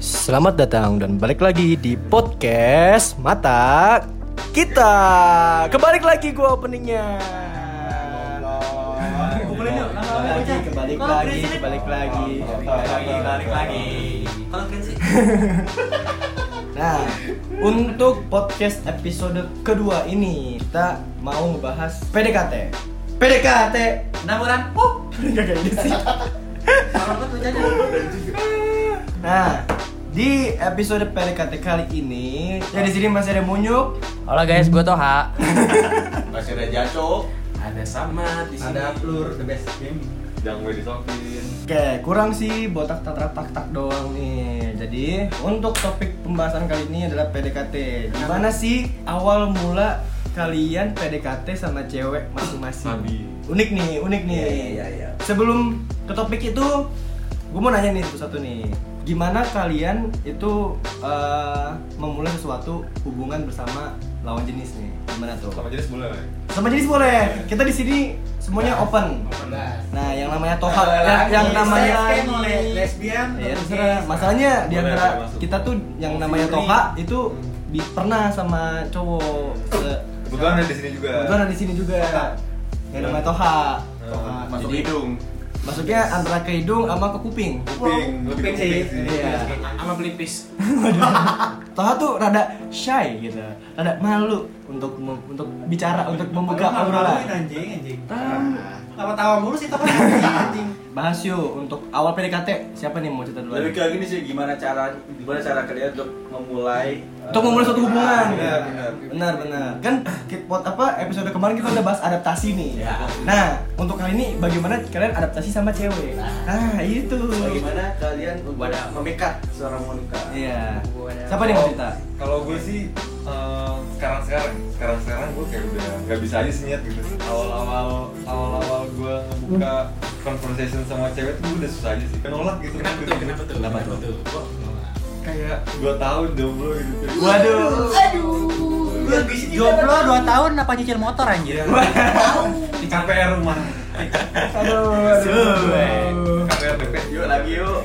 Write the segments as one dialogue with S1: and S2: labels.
S1: Selamat datang dan balik lagi di podcast Mata Kita. Kebalik lagi gua openingnya.
S2: Kumpulin yuk, nangkal
S1: Kebalik
S2: aja.
S1: lagi, kebalik
S2: Kalau
S1: lagi,
S2: berisi-
S1: kebalik lagi, kebalik lagi,
S2: balik lagi. Kalau keren sih.
S1: Nah, untuk podcast episode kedua ini kita mau ngebahas PDKT. PDKT.
S2: Namuran. Oh,
S1: Enggak kayaknya gitu sih.
S2: orang lu tuh jadi.
S1: Nah, di episode PDKT kali ini, ya di sini masih ada Munyuk,
S3: Halo guys, gue Toha.
S4: Masih ada Jaco,
S2: Ada sama di sini. Ada plur the best game.
S4: yang gue disokin.
S1: Oke, kurang sih botak tak tak tak tak doang nih. Jadi, untuk topik pembahasan kali ini adalah PDKT. Gimana sih awal mula kalian PDKT sama cewek
S4: Abi.
S1: masing-masing? Unik nih, unik nih.
S2: Iya, iya, iya.
S1: Sebelum ke topik itu, gue mau nanya nih satu-satu nih. Gimana kalian itu eh, memulai sesuatu hubungan bersama lawan jenis nih? Gimana tuh?
S4: Sama jenis boleh.
S1: Sama jenis boleh. Kita di sini semuanya
S2: Iya.
S1: open. Nah, yang namanya Toha, yang, yang namanya
S2: lesbian.
S1: Iya, terserah. Masalahnya di
S4: Boleh,
S1: antara
S4: boleh masuk.
S1: kita tuh yang
S2: Mau
S1: namanya
S2: free.
S1: Toha itu bi- pernah sama cowok. Se-
S4: Kebetulan ada di sini juga.
S1: Kebetulan ada di sini juga. Yang namanya Toha.
S4: Eh, Toha. Masuk
S1: Jadi,
S4: hidung.
S1: Masuknya antara ke hidung sama ke kuping.
S4: Kuping, lebih
S2: Kuping
S4: ke
S2: sih.
S4: kuping sih.
S1: Iya.
S2: Sama pelipis.
S1: Toha tuh rada shy gitu, rada malu untuk mem- untuk bicara, untuk memegang obrolan.
S2: anjing, anjing.
S1: Tahu.
S2: Tawa-tawa mulu sih tapi anjing.
S1: Bahas yuk untuk awal PDKT, siapa nih mau cerita dulu?
S5: Lebih ke gini sih gimana cara gimana cara kalian untuk memulai
S1: untuk memulai suatu hubungan.
S5: Iya, benar.
S1: benar, benar. Kan ki- buat apa episode kemarin kita udah bahas adaptasi nih. Nah, untuk kali ini bagaimana kalian adaptasi sama cewek? Nah, itu.
S5: Bagaimana kalian untuk
S2: Wadah.
S5: memikat seorang wanita?
S1: Iya. Siapa nih yang mau cerita?
S4: Kalau gue sih eh, sekarang-sekarang, sekarang-sekarang gue kayak udah nggak bisa aja senyet gitu. Awal-awal, awal-awal gue ngebuka conversation sama cewek tuh gue udah susah aja sih. Kenolak gitu.
S2: Kenapa tuh? Kenapa tuh?
S1: Kenapa tuh?
S2: Kok nolak?
S4: Kayak dua tahun jomblo gitu.
S1: Waduh.
S3: Jomblo 2 tahun apa nyicil motor anjir?
S4: Iya. Di KPR rumah.
S1: Aduh. aduh.
S4: KPR DP.
S5: Yuk lagi yuk.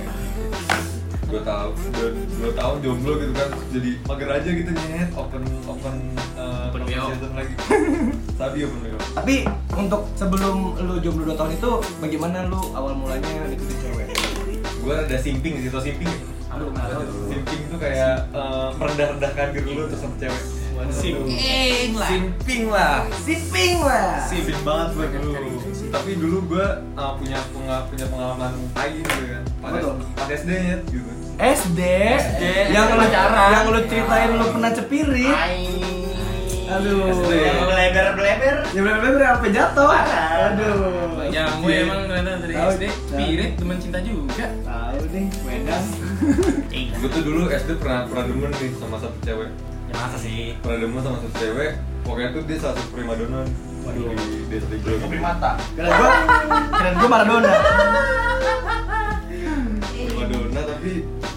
S4: dua tahun dua, dua tahun jomblo gitu kan jadi mager aja gitu nyet open open uh,
S2: Open
S4: conversation lagi tapi open WO
S1: Tapi untuk sebelum lu jomblo 2 tahun itu bagaimana lu awal mulanya ngikutin cewek?
S4: gue ada simping sih tau simping ya?
S2: Aduh, nggak tahu.
S4: simping tuh kayak uh, merendah rendahkan diri lu terus sama cewek Aduh.
S2: Ing lah.
S4: simping lah
S1: Siping lah.
S4: simping banget buat lu tapi dulu gue punya punya punya pengalaman pagi gitu kan pas
S1: Apa tuh?
S4: pas SD nyet gitu
S1: SD,
S2: SD,
S1: yang lu
S2: pacaran.
S1: yang lu ceritain lu pernah cepirit. Aduh.
S4: SD.
S5: Yang beleber beleber.
S1: Ya bener-bener sampai jatuh.
S5: Parah.
S1: Aduh. Iya.
S6: Ya, gue emang ternyata dari
S1: Tahu.
S6: SD, spirit teman cinta juga.
S1: Tahu deh, Wedang.
S4: gue tuh dulu SD pernah pernah demen nih sama satu cewek
S2: Ya masa sih?
S4: pernah demen sama satu cewek pokoknya tuh dia salah satu primadona waduh di desa di Grogol.
S5: Kopi mata.
S1: Keren gua, keren gua Maradona.
S4: primadona tapi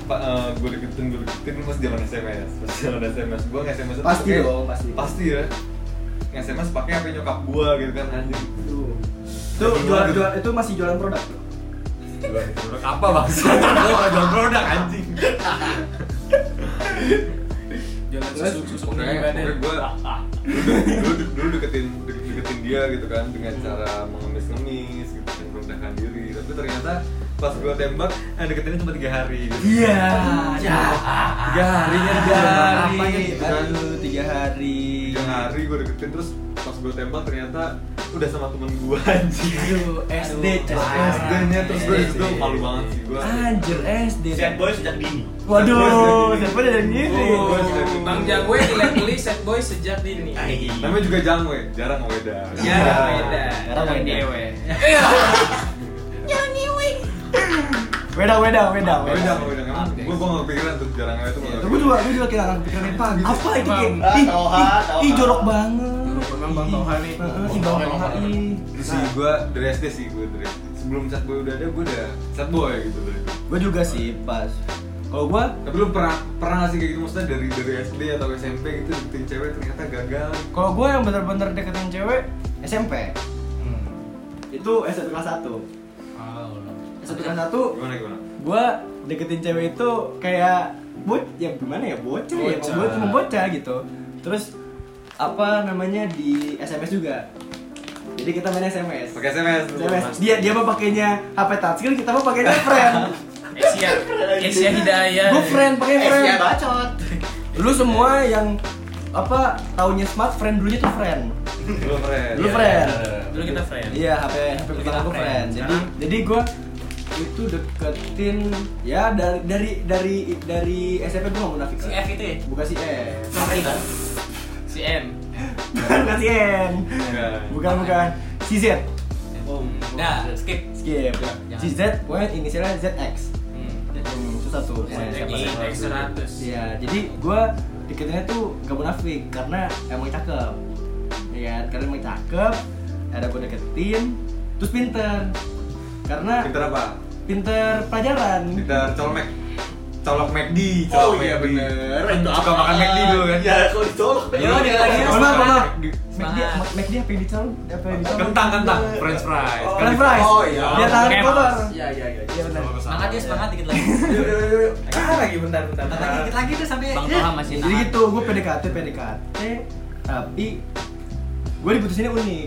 S4: pak gue deketin gue deketin pas zaman sms pas zaman sms gue nge sms
S1: Pasti dong, pasti.
S4: pasti ya nge sms pakai apa nyokap gue gitu kan anjing
S1: Tuh. Tuh, jualan, jualan, itu masih jualan produk. loh.
S4: produk apa bang gue nggak jual produk anjing
S6: Jalan
S1: Terus,
S6: susu susu
S4: pokoknya
S6: di
S4: pokoknya
S6: badan.
S4: gue dulu, dulu, dulu deketin deket- deketin dia gitu kan dengan
S1: Hmm.
S4: cara mengemis-ngemis gitu kan merendahkan diri tapi ternyata pas gue tembak eh, deketinnya cuma tiga hari gitu.
S1: Iya. Ya.
S4: tiga harinya
S1: Tiga
S4: tiga
S1: hari.
S4: hari gitu kan
S1: Aduh, tiga hari.
S4: tiga hari gue deketin terus pas gue tembak ternyata udah sama temen gue anjing
S1: Aduh, SD
S4: Terus SD nya terus gue
S1: SD.
S4: itu malu banget sih gue
S1: Anjir SD.
S5: Set boy sejak dini.
S1: Waduh, siapa dari gini?
S6: Oh,
S4: Gua sudah dulu.
S6: Bang Jago dilabeli set boy sejak dini.
S4: namanya juga jangwe jarang weda
S6: Ya, beda.
S1: Iya, Jarang main
S6: dewe.
S1: Wedang, wedang, wedang.
S4: weda weda emang gue gue nggak kepikiran tuh jarang weda tuh nggak
S1: Gue juga, gue juga kira akan pikirin apa gitu. Apa itu
S6: Emang.
S1: Kim?
S5: Ah,
S1: Ih,
S5: Toha,
S1: ih,
S5: Toha.
S1: Ih, jorok banget.
S6: Jorok memang Bang Toha nih.
S1: Heeh, Si Bang Toha ih.
S4: kepikiran. sih gue dari SD sih gue dari SD. sebelum set boy udah ada gue udah set boy gitu dari dulu.
S1: Gue juga sih pas. Kalau gue,
S4: tapi lu pernah pernah nggak sih kayak gitu maksudnya dari dari SD atau SMP gitu deketin cewek ternyata gagal
S1: kalau gue yang bener-bener deketin cewek SMP. Itu SMP kelas 1
S6: Oh,
S1: SMP kelas 1
S4: gimana gimana
S1: gue gua deketin cewek itu kayak bot ya gimana ya bocah, ya
S6: Bocah.
S1: gua cuma bocah gitu terus apa namanya di SMS juga jadi kita main SMS
S4: Pakai SMS.
S1: SMS dia dia mah pakainya HP touchscreen kan, kita mah pakainya friend
S6: Asia Asia Hidayah
S1: gua friend pakai
S3: Eh,
S1: friend
S3: ya bacot.
S1: lu semua yang apa taunya smart friend dulunya tuh friend
S4: Lu friend.
S6: Iya,
S1: Lu friend.
S6: dulu kita friend
S1: Iya HP HP pertama gue
S6: friend.
S1: friend. Jadi
S6: ya? Sekarang?
S1: jadi gue itu deketin ya dari dari dari dari SMP gue nggak munafik
S6: si
S1: sih.
S6: F itu ya
S1: Bukan si E.
S6: si M
S1: Bukan si N.
S4: Enggak.
S1: Bukan bukan si Z.
S2: Nah, skip.
S1: Skip.
S2: Jangan.
S1: Si Z, pokoknya inisialnya ZX.
S6: Hmm.
S1: Hmm, susah tuh. pokoknya siapa
S6: Jadi
S1: sih.
S6: X100
S1: Iya, jadi gue deketinnya tuh gak munafik karena emang cakep. Iya, kan? karena emang cakep. Ada gue deketin, terus pinter. Karena
S4: Pinter apa?
S1: pinter pelajaran
S4: Pinter colmek. Colok McD.
S5: Oh,
S4: colok
S5: iya,
S4: McD.
S5: bener.
S4: Itu Suka makan McD dulu kan?
S5: Ya, kalau ditolak Ya,
S1: Yo, dia Iya, lagi ya,
S4: Colok,
S1: semangat,
S4: colok.
S1: McD,
S2: Semangat.
S1: McD apa yang dicolong? Apa yang dicolong?
S4: Kentang kentang. French fries.
S5: Oh,
S1: French fries.
S5: Oh, iya.
S1: Dia tahan
S2: Kemas.
S1: kotor.
S5: Iya, iya, iya.
S1: Iya benar.
S2: Semangat ya, semangat dikit lagi.
S5: Yuk, yuk, yuk, yuk. Ah, lagi bentar, bentar.
S3: Bentar lagi dikit lagi tuh sampai
S2: Bang Toha masih
S1: Jadi
S2: nahan.
S1: gitu, gue PDKT PDKT, tapi gue diputusinnya unik.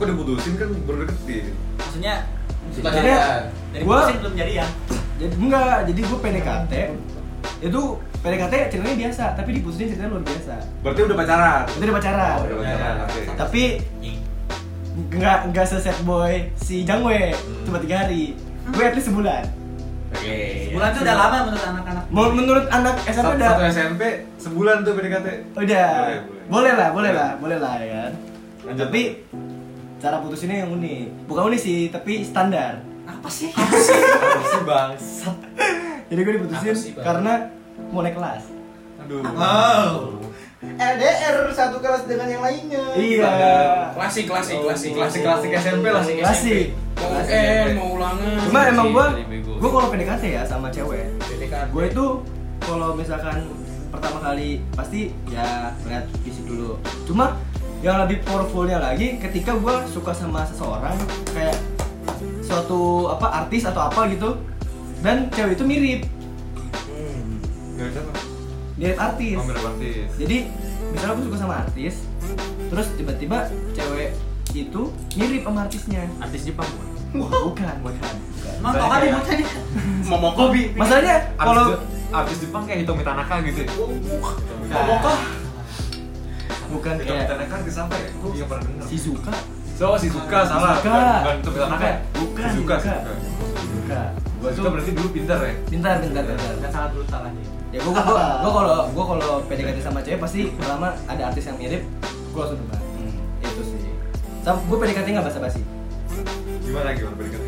S4: Kok diputusin kan baru deketin.
S2: Maksudnya
S5: Suka
S1: Jadi,
S5: jadian.
S2: dari
S1: Iya. Gua-
S2: putusin belum jadi ya.
S1: Jadi enggak, jadi gue PDKT itu PDKT ceritanya biasa, tapi diputusin ceritanya luar biasa.
S4: Berarti udah pacaran.
S1: Itu udah pacaran.
S4: Udah pacaran. oke.
S1: Tapi
S6: Iya.
S1: nggak nggak seset boy si Jangwe cuma tiga hari. Gue at least sebulan.
S5: Oke.
S3: Bulan tuh udah lama menurut anak-anak.
S1: Mau- Menurut anak
S4: Satu,
S1: SMP udah
S4: satu SMP sebulan tuh PDKT.
S1: Udah.
S4: Boleh, boleh.
S1: Boleh lah, boleh lah, boleh lah ya kan.
S4: Lanjut.
S1: Tapi cara putusinnya yang unik. Bukan unik sih, tapi standar.
S3: Apa sih?
S4: Apa sih bangsat?
S1: Jadi gue diputusin
S6: Apa sih, Bang?
S1: karena mau naik kelas.
S4: Aduh.
S5: LDR satu kelas dengan yang lainnya.
S1: Iya.
S6: klasik klasik Oh, klasik
S4: Klasik klasik SMP lah.
S6: Klasik.
S1: Klasik.
S6: mau
S4: Klasik
S6: UN
S4: SMP.
S6: mau ulangan
S1: Cuma
S2: Klasik
S1: emang gue,
S2: dari bego.
S1: gue kalau PDKT ya sama cewek,
S6: PDKT.
S1: gue itu kalau misalkan pertama kali pasti ya lihat fisik dulu. Cuma yang lebih powerfulnya lagi ketika gue suka sama seseorang kayak suatu apa artis atau apa gitu dan cewek itu mirip
S4: Gak siapa?
S1: mirip artis.
S4: Oh, mirip artis.
S1: Jadi misalnya gue suka sama artis, terus tiba-tiba cewek itu mirip sama artisnya.
S2: Artis Jepang. bukan?
S1: Bukan, bukan.
S3: Emang Toha di mata nih.
S5: Momo Kobi.
S1: Masalahnya kalau
S4: artis Jepang kayak Hitomi Tanaka gitu. ya?
S1: Nah, bukan
S4: Hitomi
S1: kayak
S4: Tanaka ke siapa ya? Gue pernah dengar.
S1: Shizuka,
S4: So, Shizuka salah.
S1: Shizuka.
S4: Bukan bukan Hitomi Tanaka ya?
S1: Bukan,
S4: Shizuka.
S1: Shizuka. Shizuka. Gua
S4: Gue
S1: tuh
S4: tuh berarti dulu pintar ya.
S1: bentar, bentar, bentar.
S3: Dan sangat brutal aja.
S1: Ya gua gua gua kalau gua kalau PDKT sama cewek pasti pertama ada artis yang mirip, gua langsung debat. Itu sih. Sam, gua PDKT nggak basa-basi.
S4: Gimana gimana PDKT?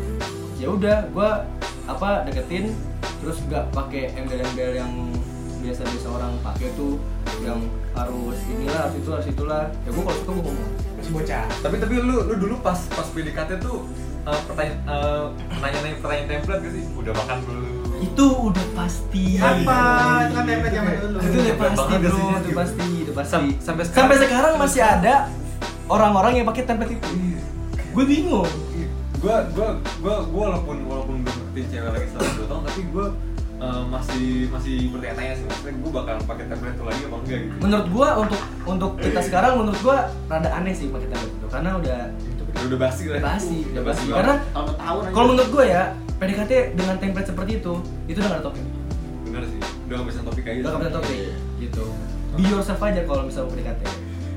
S1: ya udah gua apa deketin terus nggak pakai embel-embel yang biasa biasa orang pakai tuh yang harus inilah harus itu harus itulah ya gua kalau suka gua ngomong
S6: masih bocah
S4: Tapi tapi lu lu dulu pas pas PDKT tuh eh, pertanyaan eh, pertanyaan pertanyaan template gak sih? Udah makan belum?
S1: itu udah pasti
S3: Apa? Itu kan template zaman dulu.
S1: itu udah
S4: Gampang
S1: pasti
S4: banget
S1: bro
S4: sih,
S1: itu
S4: gitu.
S1: pasti itu pasti
S4: Sam- sampai sekarang-
S1: sampai sekarang masih ada orang-orang yang pakai template itu
S4: Iya.
S1: gue bingung
S4: gue gue gue gue walaupun walaupun belum ngerti cewek lagi selama dua tahun tapi gue masih masih bertanya-tanya sih maksudnya gue bakal pakai template itu lagi apa enggak gitu
S1: menurut gua untuk untuk kita sekarang menurut gua rada aneh sih pakai template itu karena udah
S4: udah, udah basi lah
S1: udah basi udah basi
S4: banget.
S1: karena
S5: Tahun tahun aja.
S1: Kalau menurut gue ya, PDKT dengan template seperti itu, itu udah gak ada topik.
S4: bener sih udah nggak bisa topik aja
S1: Udah gak ada topik.
S4: Iya.
S1: Gitu. Be yourself aja kalau misalnya mau PDKT.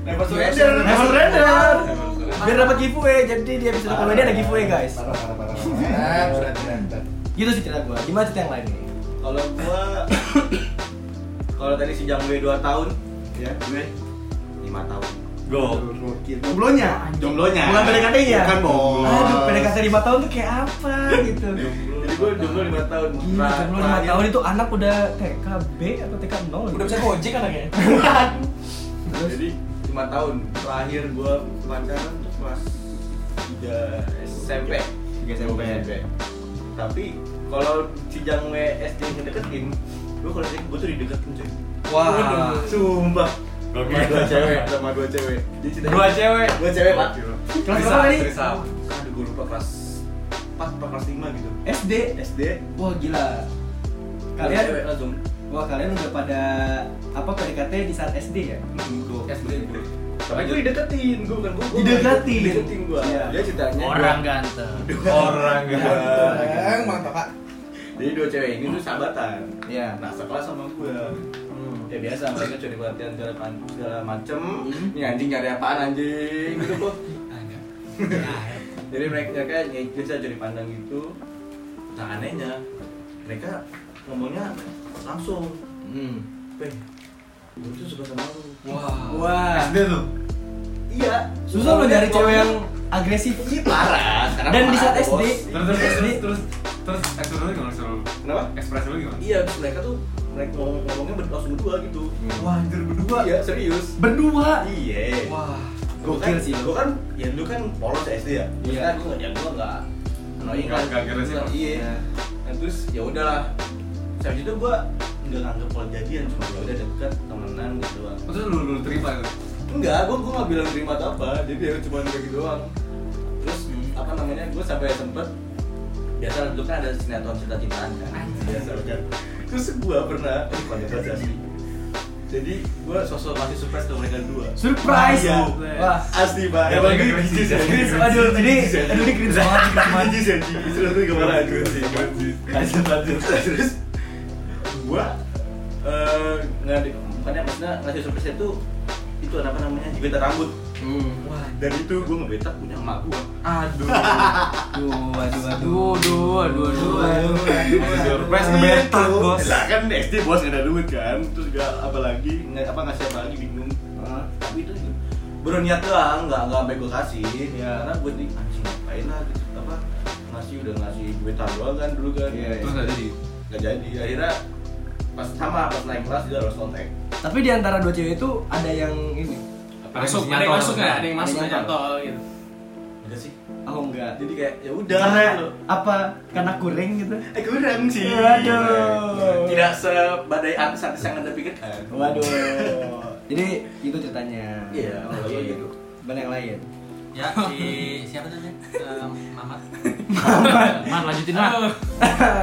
S5: Never surrender.
S1: Never surrender.
S4: Never surrender.
S1: Biar dapat giveaway, jadi di episode komedi ada giveaway guys.
S5: Parah, parah, parah, parah. Berat, berat, berat.
S1: Gitu sih cerita gue. Gimana cerita yang lain nih?
S5: Kalau gua kalau tadi si Jangwe 2 tahun, ya gue 5 tahun.
S4: go
S5: Jomblonya, jomblonya.
S1: Bukan PDKT-nya.
S5: Bukan, Bos.
S1: Aduh, PDKT 5 tahun tuh kayak apa gitu.
S5: Jadi gue jomblo 5 tahun.
S1: Gila, sebelum 5 tahun itu anak udah TKB atau TK 0
S6: udah bisa gojek kan anaknya
S5: Jadi 5 tahun terakhir gue pacaran kelas 3 SMP. 3 SMP. Tapi kalau si Jangwe SD ngedeketin, gue kalau SD gue tuh dideketin cuy.
S4: wah
S5: Sumpah. Sama
S4: Gokil.
S5: dua cewek, sama dua cewek. Jadi ceritanya-
S4: dua cewek
S5: Dua cewek, Pak.
S1: Kelas berapa tadi?
S4: Trisam
S5: Aduh, gue lupa kelas 4 atau kelas 5 gitu
S1: SD
S5: SD
S1: wah gila
S5: Kalian
S1: kalian
S5: langsung
S1: wah kalian udah pada apa PDKT di saat SD ya
S5: SD gue
S4: Tapi
S5: "Hmm, Tapi gue dideketin, gue bukan gue
S1: Dideketin?
S5: Dideketin gue
S1: Iya.
S5: Dia ceritanya Iya.
S2: Orang ganteng.
S4: orang ganteng.
S6: Bang, mantap kak.
S5: Jadi dua cewek ini tuh sahabatan
S1: Iya.
S5: Nah sekelas sama gue Ya biasa mereka curi perhatian segala, pan- segala macem
S1: Hmm.
S5: Ini anjing nyari apaan anjing gitu kok
S6: Iya.
S5: Jadi mereka, mereka ny- biasa curi pandang gitu Nah anehnya Mereka ngomongnya langsung
S1: hmm.
S5: Peh, gue tuh suka sama lu
S2: Wah.
S1: wah
S4: SD tuh.
S5: Iya
S1: susah loh dari cewek yang agresif
S5: Ih, parah sekarang
S1: Dan di saat
S5: parah,
S1: SD.
S5: bos.
S4: Terus terus terus terus terus ekspresi lu gimana seru?
S5: Kenapa?
S4: Ekspresi lu gimana?
S5: Iya, terus mereka tuh mereka ngomong ngomongnya ber- langsung berdua gitu.
S1: wah anjir berdua
S5: Iya, serius.
S1: berdua
S5: Iya.
S2: Wah.
S5: Gua
S1: Gokil
S5: kan,
S1: sih lu.
S5: Gua kan, ya lu kan polos SD ya. Terus
S1: Iya.
S5: kan gua yang gua enggak annoying
S4: Nggak-
S5: kan.
S4: nggak agresif.
S5: Nggak, Iya. Nah, terus ya udahlah. Sampai itu gua enggak nganggep kalau jadian cuma ya udah deket temenan gitu doang.
S4: Terus lu lu terima itu.
S5: Enggak, gua gua enggak bilang terima atau apa. Jadi ya cuma kayak gitu doang. Terus apa namanya? Gua sampai sempet biasa dulu kan ada sinetron cinta-cintaan kan. Biasa kan. Terus gua pernah, eh, pada baca sih. Jadi gua sosok masih surprise sama mereka dua.
S1: surprise
S5: Iya.
S1: wah
S5: Asli banget.
S4: Ya, bagi cringes ya.
S1: Cringe, aduh, ini- aduh, ini cringe banget, cringe banget.
S5: Cringes ya, cringes. Terus gue kemana? Cringes. Lanjut, lanjut. Terus gue eh nggak di- bukannya maksudnya ngasih surprise itu itu apa namanya dibetak rambut.
S1: Hmm.
S5: Wah, dan itu gue ngebetak punya emak gue.
S4: Aduh.
S1: aduh aduh aduh
S2: Aduh, aduh, aduh, aduh, aduh.
S4: Surprise ngebetak bos.
S5: Lah kan SD bos nggak ada duit kan, terus gak apa lagi nggak apa ngasih apa lagi bingung.
S1: Ah.
S5: Tapi itu baru niat doang, nggak nggak sampai gue kasih.
S1: Iya.
S5: Karena gue nih anjing ngapain lah gitu, apa ngasih udah ngasih duitan doang kan dulu kan.
S1: Iya,
S4: Terus nggak jadi.
S5: nggak jadi akhirnya pas sama pas naik kelas dia harus kontak
S1: tapi di antara dua cewek itu ada yang ini
S2: Masuk, ada yang masuk nggak? Ada yang masuk
S1: Ada yang
S2: nggak? Tol gitu.
S5: enggak Iya sih
S1: oh enggak
S5: jadi kayak ya udah
S1: karena apa karena kuring gitu
S5: eh kurang sih
S1: Waduh.
S5: iya. tidak sebadai artis-artis yang anda pikirkan
S1: waduh jadi itu ceritanya
S5: iya
S1: Oke.
S5: kalau gitu
S1: Bang yang lain
S2: Ya, si siapa tuh? Eh, Mamat.
S6: Man lanjutin lah.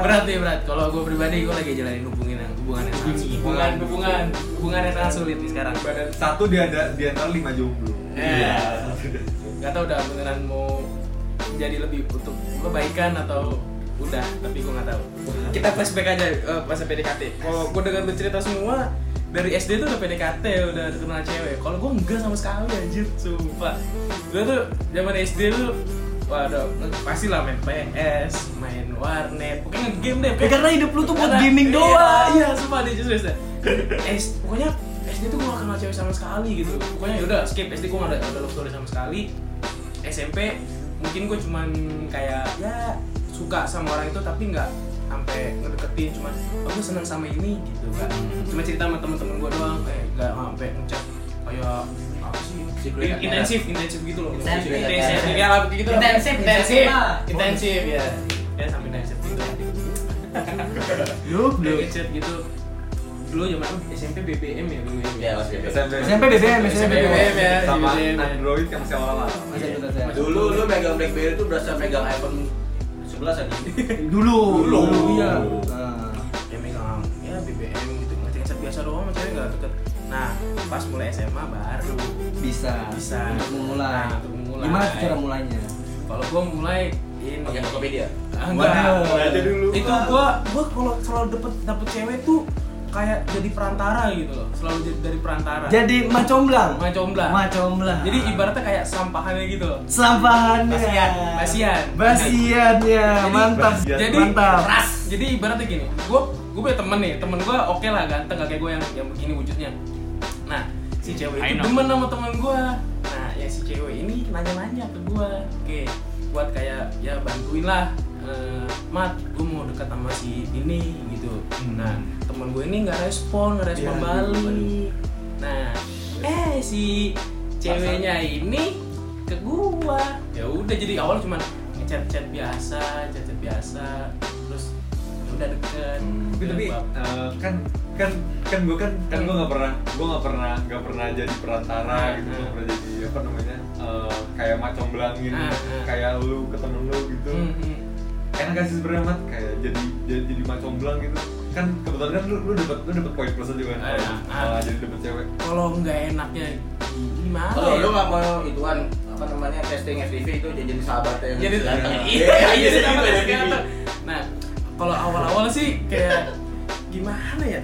S6: berat nih berat. Kalau gue pribadi gue lagi jalanin hubungan yang hubungan yang sangat hubungan hubungan hubungan yang sangat sulit nih sekarang.
S4: Satu di ada- di antara lima jomblo.
S6: Eh,
S5: Iya.
S6: Gak tau udah beneran mau jadi lebih untuk kebaikan atau udah tapi gue nggak tahu. Kita flashback aja eh, masa PDKT. Kalau gue dengar lu cerita semua dari SD tuh udah PDKT udah kenal cewek. Kalau gue enggak sama sekali anjir, sumpah. Gue tuh zaman SD tuh Waduh, pasti lah main PS, main warnet, pokoknya game deh.
S1: Ya, karena hidup lu tuh buat gaming
S6: Iya,
S1: doang.
S6: Iya, sumpah deh justru SD. S, pokoknya SD tuh gue gak kenal cewek sama sekali gitu. Pokoknya yaudah skip SD gue gak ada, ada love story sama sekali. SMP mungkin gue cuman kayak ya suka sama orang itu tapi nggak sampai ngedeketin cuman oh, gue seneng sama ini gitu kan cuma cerita sama temen-temen gue doang kayak nggak sampai ngucap kayak apa sih
S2: Secret
S6: intensif intensif gitu loh
S2: Intensif,
S6: intensif
S2: ya.
S6: ya lah begitu
S2: Intensif, intensif.
S6: intensif intensif ya ya sampai intensif gitu
S1: lu
S6: Udah
S1: belum
S6: ngechat gitu dulu zaman apa? SMP BBM ya BBM
S5: ya masih
S1: SMP BBM SMP BBM
S6: ya
S4: Sama
S6: BBM.
S4: Android yang masih awal-awal.
S1: Masih ada tuh, ya. saya.
S5: dulu lu megang blackberry tuh berasa megang iphone 11 aja
S1: dulu
S5: Dulu.
S1: iya
S6: ya megang ya BBM gitu ngechat ngechat biasa doang sama cewek nggak deket nah pas mulai SMA baru
S1: bisa
S6: Bisa.
S1: untuk memulai
S6: Nah, untuk memulai.
S1: gimana tuh cara mulainya
S6: kalau gua mulai ini
S5: pakai Tokopedia
S6: Ah,
S1: Waduh.
S6: enggak
S5: aja dulu
S6: itu gua gua kalau selalu dapet dapet cewek tuh kayak jadi perantara gitu loh selalu jadi dari perantara
S1: jadi macomblang
S6: Macomblang.
S1: macomblang
S6: jadi ibaratnya kayak sampahannya gitu loh
S1: sampahannya
S6: Basian, basian.
S1: basiannya
S6: Jadi-
S1: ya. mantap
S4: basian.
S6: Iya, jadi
S1: mantap
S6: ras jadi ibaratnya gini gue gue punya temen nih temen gue oke lah ganteng gak kayak gue yang yang begini wujudnya nah si cewek
S2: I know.
S6: itu demen sama temen gue nah ya si cewek ini nanya-nanya ke gue oke buat kayak ya bantuin lah eh, mat gue mau dekat sama si ini gitu nah temen gue ini nggak respon nggak respon
S5: Ya, aduh,
S6: balik nah eh si ceweknya ini ke gua ya udah jadi awal cuman ngechat chat biasa chat chat biasa terus ya udah deket
S4: tapi tapi eh, kan kan kan gue kan kan gue nggak pernah gue nggak pernah nggak pernah jadi perantara
S6: Ah,
S4: gitu
S6: ah.
S4: nggak pernah jadi apa namanya eh, kayak macam belangin
S6: Ah, ah.
S4: kayak lu ketemu lu gitu
S6: Hmm, hmm.
S4: enak gak sih sebenarnya mat kayak jadi jadi, jadi macam belang gitu kan kebetulan kan lu lu dapat lu dapat poin plus juga kan
S6: Ah,
S4: kalau-
S6: ah.
S4: kalau jadi dapat cewek
S6: Kalau nggak enaknya gimana?
S5: Kalau
S6: ya?
S5: lu nggak mau ituan apa namanya testing FTV itu jadi sahabat yang
S6: jadi
S5: datang.
S6: iya iya
S5: jadi
S6: sama
S5: sahabat
S6: kayak gitu. nah kalau awal-awal sih kayak gimana ya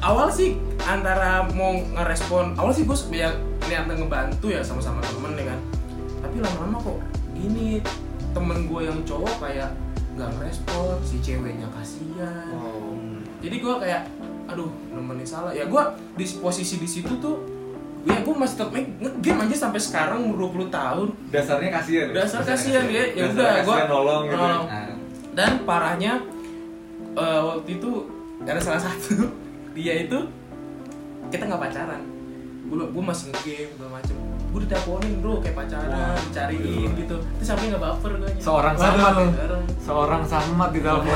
S6: awal sih antara mau ngerespon awal sih gue ya niat ngebantu ya sama-sama temen ya kan tapi lama-lama kok gini temen gue yang cowok kayak nggak ngerespon si ceweknya kasihan jadi gue kayak aduh nemenin salah ya gue di posisi di situ tuh ya gue masih tetap main ngegame aja sampai sekarang umur 20 tahun
S4: dasarnya kasihan
S6: Dasar kasihan, ya.
S4: Dasarnya
S6: Ya udah,
S4: kasihan,
S6: gua- Oh.
S4: nolong gitu
S6: nolong. dan parahnya eh, waktu itu ada salah satu dia itu kita nggak pacaran gue gue masih ngegame segala macem gue diteleponin bro kayak pacaran dicariin gitu terus sampai nggak baper gue
S2: iya, Seorang
S6: sama Iya.
S2: sahabat. ya? Seorang sahabat di dalam
S6: Oh,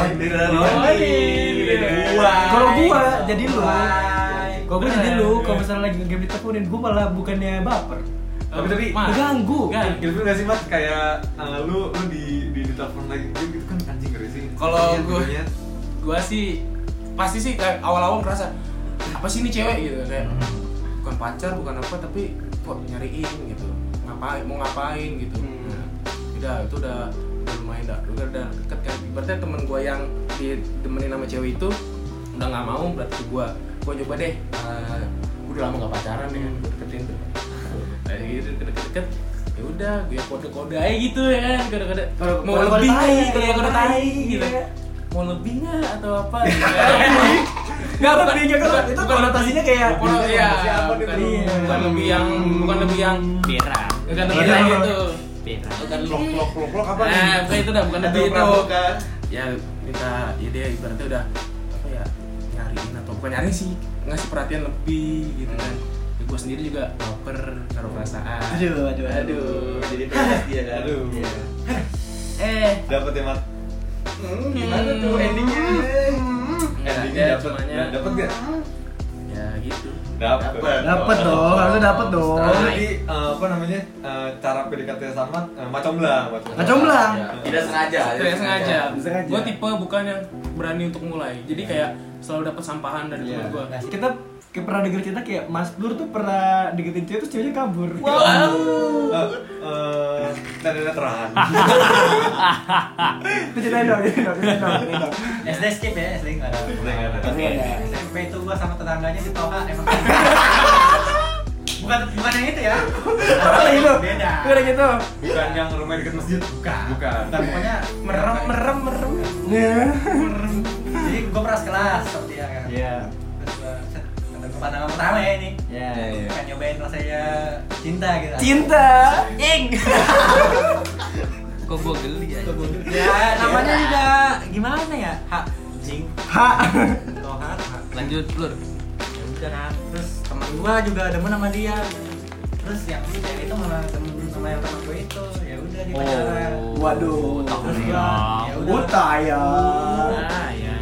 S1: Kalau gua jadi lu. Kalau gua jadi lu,
S6: Iya.
S1: kalau misalnya lagi nge-game diteleponin, gua malah bukannya baper.
S4: Tapi- tapi-
S1: Mengganggu.
S6: Enggak.
S4: Gitu gak sih mat kayak eh, lu lu di di ditelepon lagi gitu kan anjing ngeri sih.
S6: Kalau
S4: Iya,
S6: gua-
S4: jadinya.
S6: gue sih pasti sih kayak awal-awal ngerasa apa sih ini cewek gitu kayak bukan pacar bukan apa tapi kok nyariin gitu ngapain mau ngapain gitu Nah, udah itu udah udah lumayan dah udah udah deket kan ibaratnya temen gue yang ditemenin sama cewek itu udah nggak mau berarti gue gue coba deh eh, gua udah lama nggak pacaran ya gue deketin tuh kayak gitu deket-deket ya udah gue kode-kode aja gitu ya kan kode-kode
S1: Kode-
S6: mau
S1: kode-kode
S6: lebih
S1: tai,
S6: nih kode-kode
S1: kode-kode
S6: tai
S1: tai,
S6: gitu
S1: iya.
S6: mau lebih nggak atau apa gitu.
S1: Enggak lebih enggak kan itu konotasinya kayak
S6: Bukan, iya,
S5: siapa
S6: bukan,
S5: nih?
S1: Iya.
S6: bukan lebih yang bukan lebih yang
S2: Pera.
S6: bukan lebih
S1: Iya.
S6: yang itu
S2: Pera.
S6: bukan
S5: Blok blok blok blok apa nih?
S4: Iya.
S6: nah bukan itu dah bukan lebih
S5: Atau
S6: itu
S5: pramuka.
S6: ya kita ya dia ibaratnya udah apa ya nyariin atau bukan nyariin sih ngasih perhatian lebih gitu kan ya, gue sendiri juga baper taruh perasaan
S1: Hmm. Aduh, aduh, aduh.
S5: Aduh, jadi pedas dia kan.
S4: Aduh.
S5: Iya.
S1: Eh,
S4: Dapat ya mat.
S5: Hmm, Gimana tuh endingnya?
S6: Nggak,
S4: Endingnya Nah,
S6: ya,
S4: dapat.
S6: cumanya
S4: Dapat gak?
S6: ya gitu
S4: Dapat.
S5: Dapet.
S1: dapat dong, harusnya dapat dong.
S4: Oh, jadi eh, apa namanya eh, cara PDKT sama eh, macam lah, macam
S1: Nggak comblang.
S5: Iya, Tidak sengaja.
S6: Iya. Tidak ya, sengaja.
S1: Ya, Sengaja.
S6: Gue tipe bukan yang berani untuk mulai. Jadi kayak selalu dapat sampahan dari temen gue.
S1: Nah, Kita kayak pernah denger cerita kayak Mas Blur tuh pernah deketin cewek terus ceweknya kabur.
S6: Iya.
S4: Eh, eh, tanda terang.
S1: Itu ceritain dong, ceritain dong, ceritain dong, ceritain dong.
S3: SD skip ya, SD nggak ada.
S4: Nggak ada.
S1: Tapi ada.
S3: SMP itu gua sama tetangganya di Toha emang. bukan bukan yang itu ya.
S1: Apa itu?
S3: Beda.
S1: Itu ada gitu.
S4: Bukan yang rumah dekat masjid.
S3: Bukan.
S4: Bukan.
S3: Bukan, Pokoknya merem merem merem.
S1: Nah.
S3: Jadi gua pernah sekelas seperti ya kan.
S1: Iya.
S3: Terus gua set, kata gua pandangan pertama ya ini.
S1: Iya, iya.
S3: Kan nyobain rasanya cinta gitu.
S1: Cinta.
S2: Kok gua geli ya?
S5: Iya,
S3: Ya namanya juga gimana ya? Hak jing
S1: Ha.
S3: Toha. Toha.
S2: Lanjut, Blur.
S3: Ya udah kan terus teman gua juga demen sama dia terus yang yang itu malah temen sama yang temen gua itu ya udah di pacaran
S1: Waduh.
S3: terus
S2: Takut
S3: gua
S2: dong.
S3: ya udah
S1: Buta ya.
S5: Oh.
S3: Nah,
S6: Ah ya.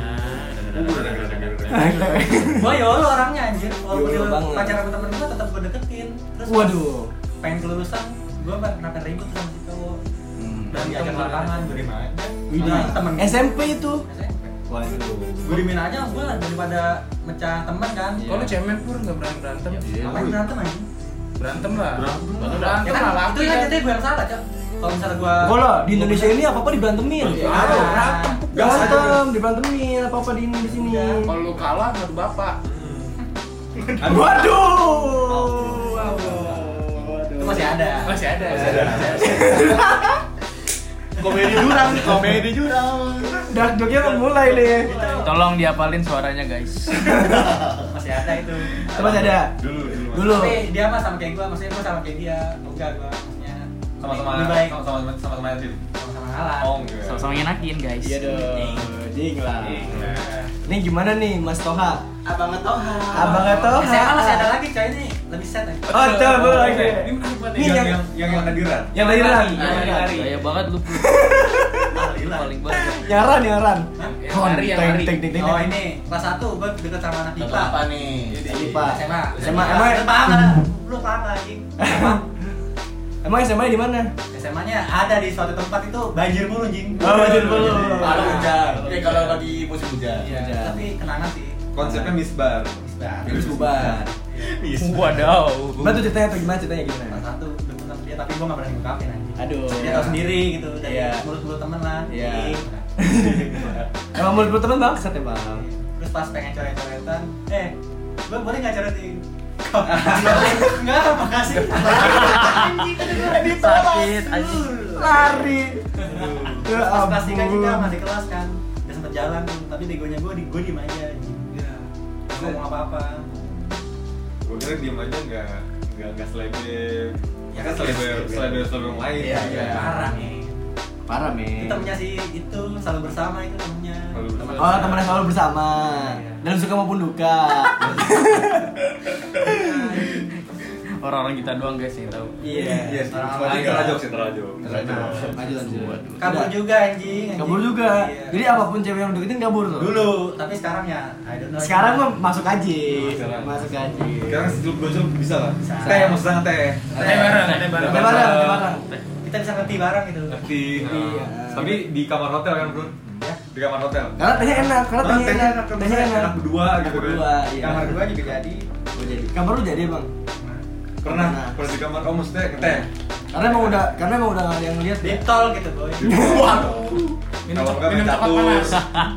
S3: gua yolo orangnya anjir
S5: Iya,
S3: walaupun
S1: Yolo
S3: dia
S1: banget.
S3: pacaran sama temen gua tetap gua deketin terus pas
S1: Waduh.
S3: pengen kelulusan gua mah kenapa ribut sama si cowok dan diajak lapangan gua diem aja
S1: Widih.
S3: Nah, temen gua
S1: SMP itu.
S3: SMP.
S1: Waduh.
S3: gua diemin aja gua daripada mecah temen kan
S6: Kalau
S1: iya.
S6: lu cemen pur nggak berani berantem.
S5: Iya,
S3: apa yang berantem anjing
S6: Berantem lah.
S4: Berantem.
S6: Berantem
S3: ya
S6: berantem
S3: kan
S6: lah.
S3: itu kan jadi gua yang salah cok kalau misalnya gua
S1: Gue lah di Indonesia ini apa apa diberantemin.
S3: Ah, berantem.
S1: Berantem, Iya. diberantemin apa apa di di sini.
S6: Kalau lu kalah ngadu bapak.
S1: Waduh.
S3: itu masih ada
S6: Masih ada.
S4: Masih ada.
S5: Komedi jurang, komedi jurang.
S1: Dark joke-nya udah mulai nih.
S2: Tolong diapalin suaranya, guys.
S3: masih ada itu
S1: Coba ada.
S4: Dulu, dulu. Mat.
S1: Dulu.
S3: tapi dia mah sama kayak gua maksudnya gua sama kayak dia Oh, enggak gua maksudnya
S4: Sama-sama
S3: lebih baik
S4: sama-sama sama-sama yatim.
S3: sama-sama ngalah
S4: Oh, enggak.
S2: Sama-sama ngenakin, guys.
S1: Iya dong. Jing lah.
S4: Nah.
S1: Ini gimana nih Mas Toha?
S3: abang ngetoha
S1: Abang Ngetoha.
S3: SMA masih ada lagi coy ini lebih set eh. lagi
S1: Oh, coba lagi.
S6: Ini menarik banget
S1: Ini
S4: yang
S6: ya.
S1: yang-
S4: yang yang yang hadiran.
S1: Yang tadi Ran.
S6: Yang tadi Ran. Iya, Lari.
S2: Gaya banget lu. Blur. Paling banget.
S1: Yang Ran, yang Ran.
S6: Yang lari yang lari.
S1: Tek, tek, tek,
S3: oh
S1: tek.
S3: ini kelas 1 gua deket sama anak
S6: Atau
S3: IPA
S6: apa nih?
S1: Ipa.
S3: SMA Iya,
S1: SMA, emang-
S3: lu paham kan lu paham gak, anjing Apa?
S1: Emang SMA di mana?
S3: SMA nya ada di suatu tempat itu banjir mulu Iya, jing
S1: Oh, banjir mulu.
S5: Kalau hujan, ya kalau lagi musim hujan.
S3: Iya,
S1: Hujan.
S3: tapi kenangan sih
S4: Konsepnya misbar.
S3: Misbah.
S1: Terus bubar.
S6: Wadaw.
S1: Mbak tuh ceritanya tuh gimana ceritanya gimana?
S3: Salah satu demen sama dia tapi gua nggak berani ngungkapin anjing
S1: Aduh.
S3: dia tahu sendiri gitu dari
S1: Iya.
S3: mulut-mulut temen lah
S1: Iya.
S3: Jadi,
S1: Emang mulut lu teman bangsat ya bang?
S3: terus pas pengen coret-coretan eh gue boleh nggak coretin Enggak, makasih.
S2: Sakit, anjing.
S1: Lari. Ya
S3: Pas kelas tiga
S1: ampun.
S3: juga masih kelas kan. Udah sempet jalan, tapi negonya gue di gue diem aja.
S1: Ya.
S3: Iya. ngomong apa-apa.
S4: Gue kira diem aja nggak nggak nggak selebem.
S3: Ya,
S4: kan selebem selebem selebem yang lain.
S1: Iya,
S4: kan?
S1: iya.
S3: Parah nih.
S1: Parah
S3: Itu
S1: men.
S3: temennya si itu selalu bersama itu temennya.
S4: Selalu bersama.
S1: Oh temannya selalu bersama
S3: Iya.
S1: dalam suka maupun duka.
S6: Orang-orang kita doang guys yang tahu.
S1: Iya.
S4: Iya, sih,
S3: Orang-orang lain.
S4: Citra Jok, Citra Jok.
S1: Nah, lanjut lanjut.
S3: Kabur
S1: Udah.
S3: juga anjing. anjing.
S1: Iya. Kabur juga.
S3: Iya.
S1: Jadi apapun cewek yang deketin kabur tuh.
S3: dulu, tapi sekarang ya I don't know.
S1: Sekarang mah masuk aja.
S4: Sekarang.
S1: Masuk aja.
S4: Sekarang sejuk gojol bisa lah.
S3: Bisa.
S4: Teh, maksudnya teh.
S6: Teh bareng, teh bareng.
S1: Teh bareng, teh bareng.
S3: kita bisa ngerti bareng gitu.
S4: Ngerti.
S1: Iya.
S4: nah. Tapi di kamar hotel kan bro?
S3: Ya.
S4: Di kamar hotel.
S1: Karena tehnya enak, karena
S4: Nah,
S1: tehnya enak, tehnya enak.
S4: enak berdua gitu kan.
S1: Berdua, iya.
S5: Kamar gua juga jadi.
S1: Gua jadi. Kamar lu jadi bang?
S4: Pernah,
S1: Pernah.
S4: pernah di kamar kamu teh, teh.
S1: Karena emang udah, karena emang udah gak ada yang lihat
S3: Di
S1: ya.
S3: tol gitu boy.
S6: Minum,
S4: Kalau enggak main
S6: coklat- minum coklat
S4: catur.
S6: panas.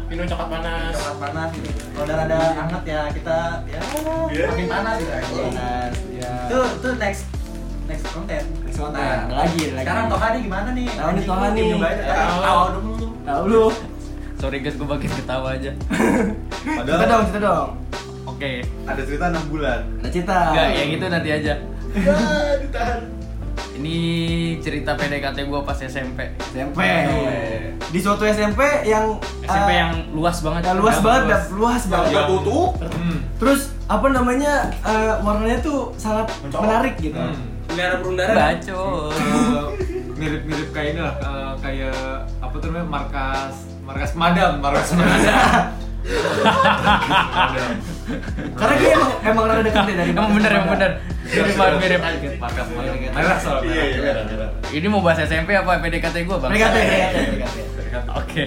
S6: Minum coklat panas.
S3: Coklat panas gitu. Kalau udah ada hangat ya kita ya
S4: Iya.
S3: makin panas gitu.
S1: Panas, ya.
S3: Itu itu next next content.
S1: Next one, nah, ada lagi, ada lagi.
S3: Sekarang Toha nih gimana nih?
S1: Tahu nih,
S3: Anjing,
S1: Toha
S3: gua
S1: nih.
S3: nyobain, eh,
S6: Tahu.
S3: Tahu dulu.
S1: Tahu lu.
S6: Sorry guys, gue bagian ketawa aja.
S1: Cerita
S4: Padahal
S1: dong, cerita dong.
S6: Oke.
S4: ada cerita 6 bulan.
S1: Ada cerita.
S6: Enggak, yang itu nanti aja. Iya,
S5: Ya, ditahan.
S6: Ini cerita PDKT gue pas SMP.
S1: SMP. Di suatu SMP yang
S6: SMP
S1: eh,
S6: yang luas banget.
S1: yang luas banget,
S6: Luas.
S1: dap- luas banget.
S5: Gak butuh.
S4: Iya. Hmm.
S1: Terus apa namanya eh, warnanya tuh sangat
S5: Mencolok.
S1: menarik gitu.
S4: Hmm.
S6: Negara perundara. Bacot.
S4: Eh, mirip-mirip kayak ini lah eh, kayak apa tuh namanya markas markas madam markas madam
S1: Karena dia emang emang rada deket deh dari
S6: Emang bener, emang bener. Mirip banget, mirip.
S4: markas madam merah soalnya
S5: Iya, iya, merah, merah.
S6: Ini mau bahas SMP apa PDKT gue bang?
S1: Mereka tuh mereka tuh, mereka tuh.
S4: kan?
S6: Oke.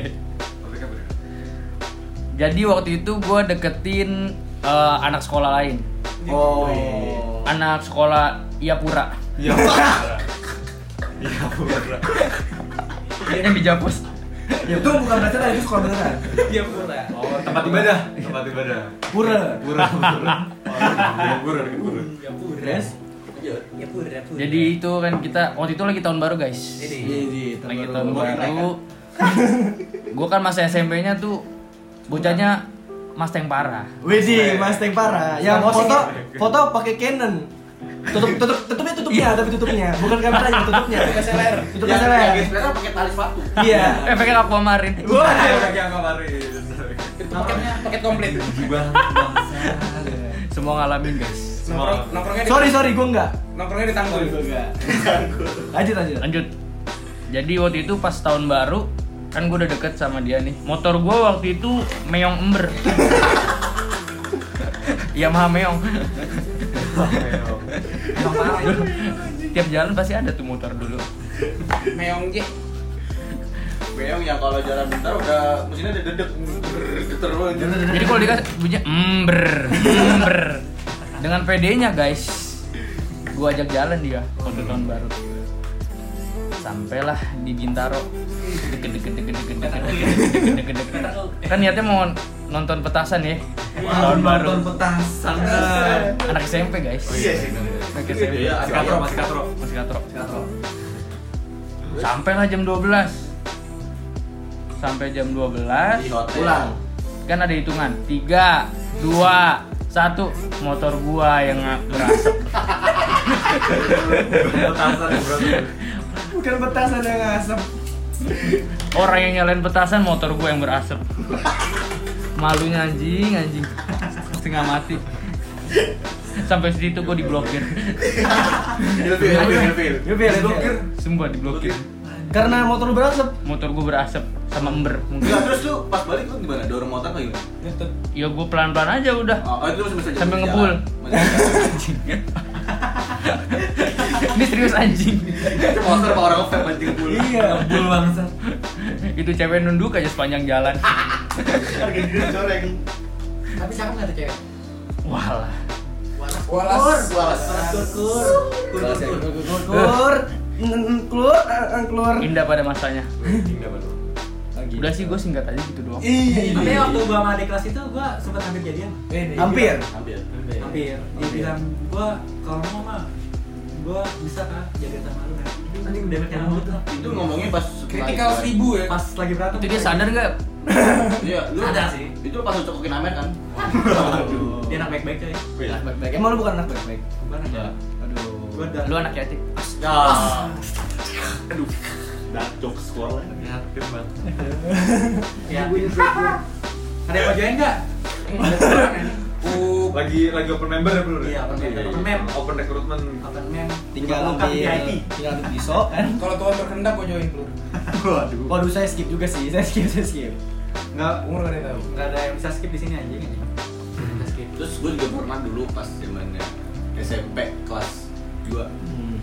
S6: Jadi waktu itu gue deketin eh, anak sekolah lain,
S1: Oh.
S6: anak sekolah Iapura.
S4: iya
S6: yang di Japus.
S1: Ya itu bukan pacaran itu sekolah beneran.
S6: Iya pura.
S4: oh tempat ibadah tempat ibadah
S1: Pura.
S4: pura pura pura pura
S1: Terus
S5: Iya,
S3: Ya pura, ya pura.
S6: Jadi itu kan kita waktu itu lagi tahun baru guys.
S5: Iya.
S3: Jadi.
S1: Jadi
S6: Lagi tahun baru. gue kan masa SMP-nya tuh bocahnya Mas Teng parah.
S1: Widi, Mas Teng parah. Yang foto foto pakai Canon. Tutup tutup tutupnya tutupnya, tapi tutupnya. Bukan kameranya tutupnya. Tutup SLR. Tutup
S4: Ya,
S5: Yang
S1: SLR.
S5: yang sebenarnya pakai tali sepatu.
S1: Iya.
S6: Efeknya aquamarin.
S3: Paketnya paket komplit.
S4: Gibah,
S6: Semua ngalamin guys.
S4: Semua.
S6: nongkrongnya
S1: Sorry sorry, gua enggak.
S6: nongkrongnya di tanggul.
S1: Lanjut lanjut.
S6: lanjut jadi waktu itu pas tahun baru kan gue udah deket sama dia nih motor gue waktu itu meong ember Yamaha meong
S3: Emang parah itu.
S6: tiap jalan pasti ada tuh motor dulu
S2: Meong je.
S5: Beong yang kalau jalan bentar udah mesinnya ada dedek. Geter banget.
S6: jadi kalau dikasih bunyinya ember ember dengan PD-nya guys gue ajak jalan dia waktu tahun baru sampailah di Bintaro deket deket deket deket deket deket deket deket deket kan niatnya mau nonton petasan ya tahun baru
S4: Nonton petasan
S6: anak SMP guys
S5: Iya sih.
S6: Oke, saya
S5: Iya,
S4: Masih
S5: agak-
S4: katro, masih katro
S6: masih katro. Sampailah jam 12. Sampai jam 12
S5: Di hotel.
S1: Pulang.
S6: kan ada hitungan. 3 2 satu motor gua yang nggak berasap
S4: petasan bro
S1: Bukan petasan yang asap.
S6: orang yang nyalain petasan motor gua yang berasap malunya anjing anjing setengah mati sampai situ gua diblokir
S5: Ilfil, ilfil, ilfil.
S1: Yuk, biar
S4: Blokir.
S6: sumpah diblokir
S1: Karena motor lu berasap.
S6: motor gua berasap sama ember
S5: Enggak,
S6: mungkin
S5: terus lu pas balik lu gimana? Dorong motor apa gimana?
S6: ya gua pelan-pelan
S1: Oh,
S6: aja udah
S5: Oh, itu masih bisa
S6: Sambil ngebul.
S5: Masih bisa.
S7: Ini serius anjing.
S5: Itu monster apa orang fair banjir bulu.
S1: Iya.
S2: Bul bangsa.
S7: Itu cewek nunduk aja sepanjang jalan.
S5: Harga diri coreng.
S3: Tapi cakep nggak tuh cewek?
S7: Walah.
S5: Walas, walas.
S3: Kur, kur,
S5: Walas ya.
S3: kur, kur.
S1: Klur, klur, klur.
S7: Indah pada masanya.
S4: Indah banget.
S7: Udah sih gue singkat aja gitu doang.
S3: Tapi
S1: Iya.
S3: waktu gua sama adik kelas itu gua sempat hampir jadian.
S1: Hampir.
S5: Ambil.
S3: Hampir. Dia
S1: Hampir.
S3: bilang gua kalau mau mah gua bisa kah jadian sama lu kan? Anjing udah kayak rambut tuh.
S5: Itu ngomongnya pas
S2: Kritikal seribu ya.
S3: Pas lagi berantem.
S7: Itu dia sadar nggak?
S5: Iya, lu
S3: Ada sih.
S5: Itu pas lu cokokin Amer kan?
S3: Dia anak baik-baik coy.
S1: Emang lu bukan anak baik-baik.
S3: Gua anak baik.
S1: Aduh.
S3: Gua udah.
S7: Lu anak yatim.
S5: Dah. Aduh. Dark jokes sekolah.
S4: Ngerti bang.
S3: Ya. Ada yang mau join enggak?
S2: Uh,
S4: Lagi lagi open member ya belum?
S3: Iya, open member. Open mem.
S4: Open recruitment.
S3: Open mem.
S1: Tinggal
S3: Buka di
S1: ambil,
S3: IT.
S1: tinggal ambil pisau kan.
S2: kalau Tuhan berkehendak gue join Blur.
S5: Waduh.
S1: Waduh saya skip juga sih, saya skip, saya skip.
S4: Nggak.
S2: Umur gak ada yang tahu.
S3: Enggak ada yang bisa skip di sini anjing. Bisa skip.
S5: Terus gue juga pernah dulu pas zamannya SMP kelas 2
S1: Hmm.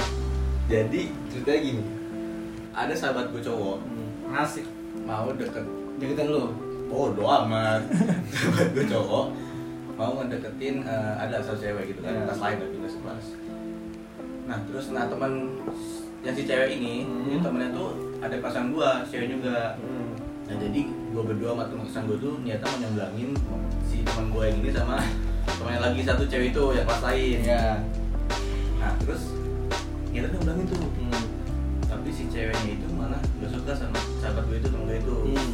S5: Jadi ceritanya gini Ada sahabat gue cowok
S3: Ngasih.
S5: mau deket
S1: Deketin lu.
S5: bodo amat sahabat gue cowok mau ngedeketin eh, ada satu cewek gitu kan
S1: Iya.
S5: kelas lain tapi kelas sebelas nah terus nah teman yang si cewek ini
S1: Hmm.
S5: temennya tuh ada pasangan gua cewek juga nah jadi gua berdua sama teman kesan gua tuh niatnya mau nyamblangin si teman gua yang ini sama temannya lagi satu cewek itu yang kelas lain
S1: Ya.
S5: nah terus niatnya nyamblangin tuh
S1: Hmm.
S5: tapi si ceweknya itu malah gak suka sama sahabat gue itu temen gue itu
S1: Hmm.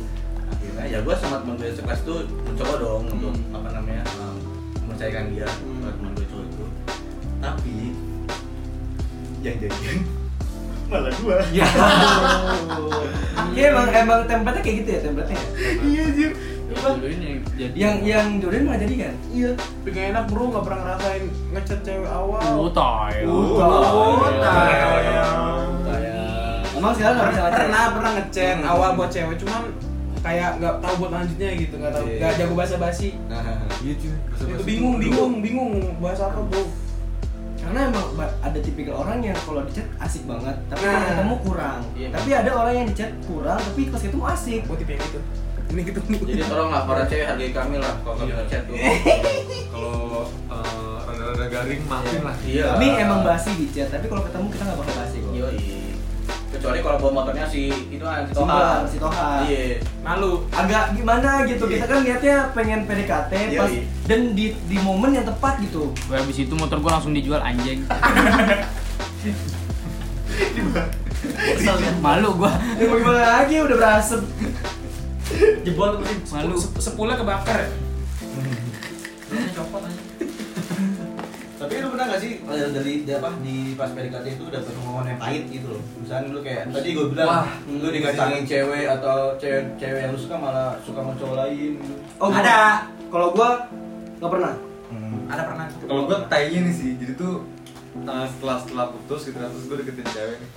S5: akhirnya ya gue sama temen gue sekelas tuh mencoba dong untuk
S1: Hmm.
S5: apa namanya um, mempercayakan dia
S1: Hmm.
S5: buat temen gue cowok itu tapi yang jadian malah gue
S1: Ya. Iya emang emang tempatnya kayak gitu ya tempatnya.
S5: iya anjir
S7: Dulu ini jadi.
S1: Yang yang jodohin malah jadi kan?
S5: iya
S6: Tapi gak enak bro, gak pernah ngerasain ngechat cewek awal.
S7: Utai.
S1: Emang sekarang nggak bisa ngechat?
S6: pernah pernah ngechat awal buat cewek, cuman kayak nggak tahu buat lanjutnya gitu, nggak tahu,
S5: Iya.
S6: nggak jago bahasa basi.
S4: Iya cuy.
S6: Itu bingung, bingung, bingung bahasa apa bro?
S1: Karena emang ba- ada tipikal orang yang kalau di chat asik banget, tapi
S6: Nah.
S1: kalau ketemu kurang.
S5: Iya.
S1: Tapi ada orang yang di chat kurang, tapi pas ketemu asik.
S6: Gue tipe yang gitu. Ini gitu.
S5: jadi tolonglah para cewek hargai kami lah kalau
S1: Iya.
S5: kami ngechat tuh
S4: Kalau eh, rada-rada garing maafin lah.
S5: iya
S1: Kami emang basi di chat, tapi kalau ketemu kita nggak bakal basi kok.
S5: Yoi. kecuali kalau bawa motornya si itu kan
S1: Si
S5: si
S1: Toha,
S5: Toha
S1: si Toha.
S5: iya
S6: Malu.
S1: Agak gimana gitu, kita kan lihatnya pengen PDKT
S5: Iya,
S1: pas
S5: iya.
S1: dan di di momen yang tepat gitu.
S7: Gue habis itu motor gue langsung dijual anjing. kan? Malu gue.
S1: Ya mau gimana lagi udah berasap.
S3: Jebol tuh mesin.
S7: Malu.
S6: Se- Sepulnya kebakar.
S3: Ini copot aja.
S5: Tapi lu pernah gak sih eh, dari, dari apa di pas PDKT itu dapet omongan yang pahit gitu loh. Misalnya lu kayak tadi gue bilang
S2: Wah,
S5: lu dikacangin cewek atau cewek cewek yang lu suka malah suka sama cowok lain. gitu.
S1: Oh,
S3: Ada.
S1: Kalau gua nggak pernah.
S5: Hmm,
S3: Ada pernah.
S4: Kalau gue tainya nih sih, jadi tuh eh, setelah setelah putus gitu kan, terus gue deketin cewek nih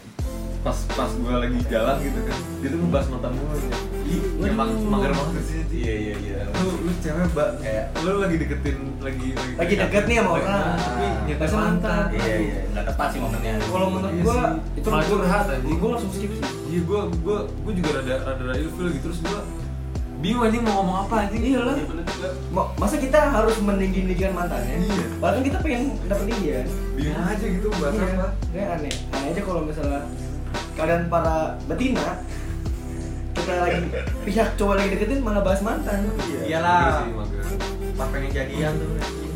S4: pas pas gue lagi jalan gitu kan dia tuh ngebahas mantan gue gitu. Ih, emang mager banget sih Ci.
S5: Iya iya iya.
S4: lu lu cewek mbak kayak lu lagi deketin lagi lagi,
S1: Lagi deket nih sama
S4: Lagi-
S1: orang, tapi
S4: nyetak
S1: bahasa mantan.
S5: Iya iya nggak tepat sih momennya.
S1: Kalau menurut
S4: Iya
S1: gua
S4: sih.
S1: itu
S4: Malah curhat, anjing.
S1: Gua langsung skip sih.
S4: iya gue gue gue juga rada rada rada ilfil gitu terus gue bingung anjing mau ngomong apa anjing iya lah
S1: Ma- Masa kita harus meninggi-ninggikan mantannya?
S4: Iya.
S1: Bahkan kita pengen dapetin dia.
S4: bingung aja gitu bahas
S1: Iya,
S4: apa
S1: kayak aneh. Aneh aja kalau misalnya kalian para betina kita lagi pihak cowok lagi deketin malah bahas mantan.
S4: Mager Iya
S3: Iyalah.
S4: sih, mager.
S3: Pas pengen jadian tuh. anjing.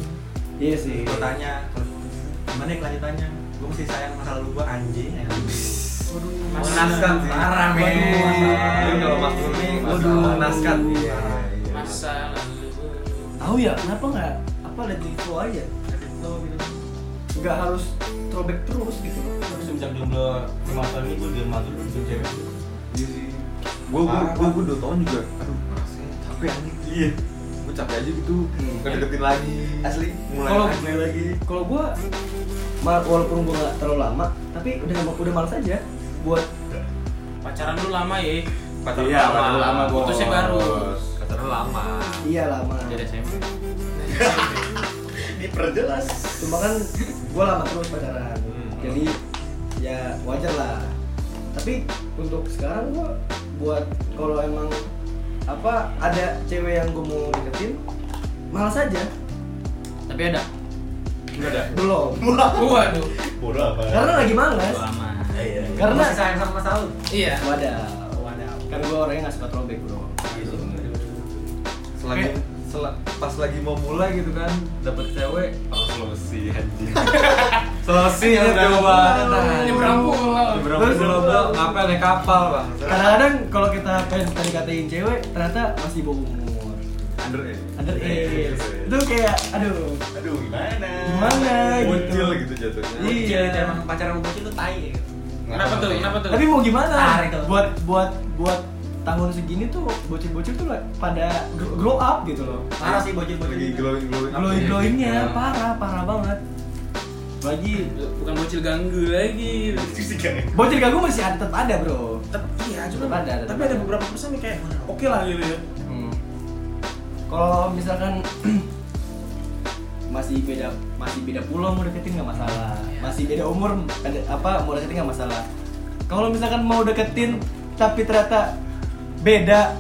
S1: Iya sih.
S3: Gua tanya terus gimana ya kelanjutannya? Gue masih sayang masa lalu gue anjing.
S4: mengenaskan sih
S3: Parah, men. Iya,
S4: Waduh, kalau mas Rumi
S1: Waduh.
S4: mengenaskan iya iya.
S6: Masa lalu.
S1: Tahu ya kenapa nggak apa dari cowok aja? Nggak harus throwback terus gitu.
S5: Terus semenjak jomblo lima tahun ini gue di rumah tuh bikin cewek.
S4: Iya sih. Gua gua gua gua dua tahun juga. Aduh, rasanya capek anjing. Iya. Gua capek aja gitu. Nggak deketin lagi. Asli. Mulai
S1: Kalau-
S4: lagi lagi.
S1: kalau gue walaupun gue gak terlalu lama tapi udah udah malas aja buat
S6: pacaran lu lama ya
S4: Pacaran
S5: Iya,
S4: lama.
S5: pacaran lama, Bos.
S6: putusnya baru
S4: Pacaran lama.
S1: iya lama
S7: Dari SMP.
S5: Diperjelas.
S1: cuma kan gue lama terus pacaran
S4: Hmm.
S1: jadi ya wajar lah tapi untuk sekarang gua buat kalau emang apa ada cewek yang gua mau deketin malas aja
S7: Tapi ada.
S5: Enggak ada.
S1: belum
S6: Waduh.
S4: Bodoh apa?
S1: karena lagi malas
S7: Gua aman.
S5: Iya.
S1: karena
S3: Masih sayang sama masa lalu.
S6: Iya.
S1: wadah wadah kan gua orangnya nggak suka throwback bro
S4: Iya Selagi sel- pas lagi mau mulai gitu kan, dapat cewek, oh, solusi anjing. solusi yang udah coba.
S6: Nyebrang pulau.
S4: Berapa pulau bro? Apa naik kapal bang?
S1: kadang-kadang kalau kita pengen tadi katain cewek ternyata masih bau umur
S4: Under ya?
S1: under age itu kayak aduh
S4: Aduh gimana?
S1: Gimana gitu?
S4: Bocil gitu jatuhnya.
S1: Iya.
S3: Bocil itu emang pacaran sama bocil tuh tai ya.
S6: Kenapa tuh? Kenapa tuh?
S1: tapi mau gimana
S3: Tarik tuh.
S1: buat buat buat tahun segini tuh bocil-bocil tuh lah pada gr- grow up gitu loh
S3: Parah sih bocil-bocil. gitu.
S4: Lagi glowing glowing.
S1: glowing
S4: Iya.
S1: glowingnya parah parah banget bagi
S6: Bukan bocil ganggu lagi.
S1: bocil ganggu masih ada tetap ada bro
S6: Tapi iya, cuma
S1: Tetap ada, tetap
S6: tapi ada
S1: ada.
S6: beberapa persen yang kayak oke lah gitu ya.
S1: Hmm. kalau misalkan masih beda masih beda pulau mau deketin nggak masalah
S3: Iya,
S1: masih beda umur ada apa mau deketin nggak masalah kalau misalkan mau deketin tapi ternyata beda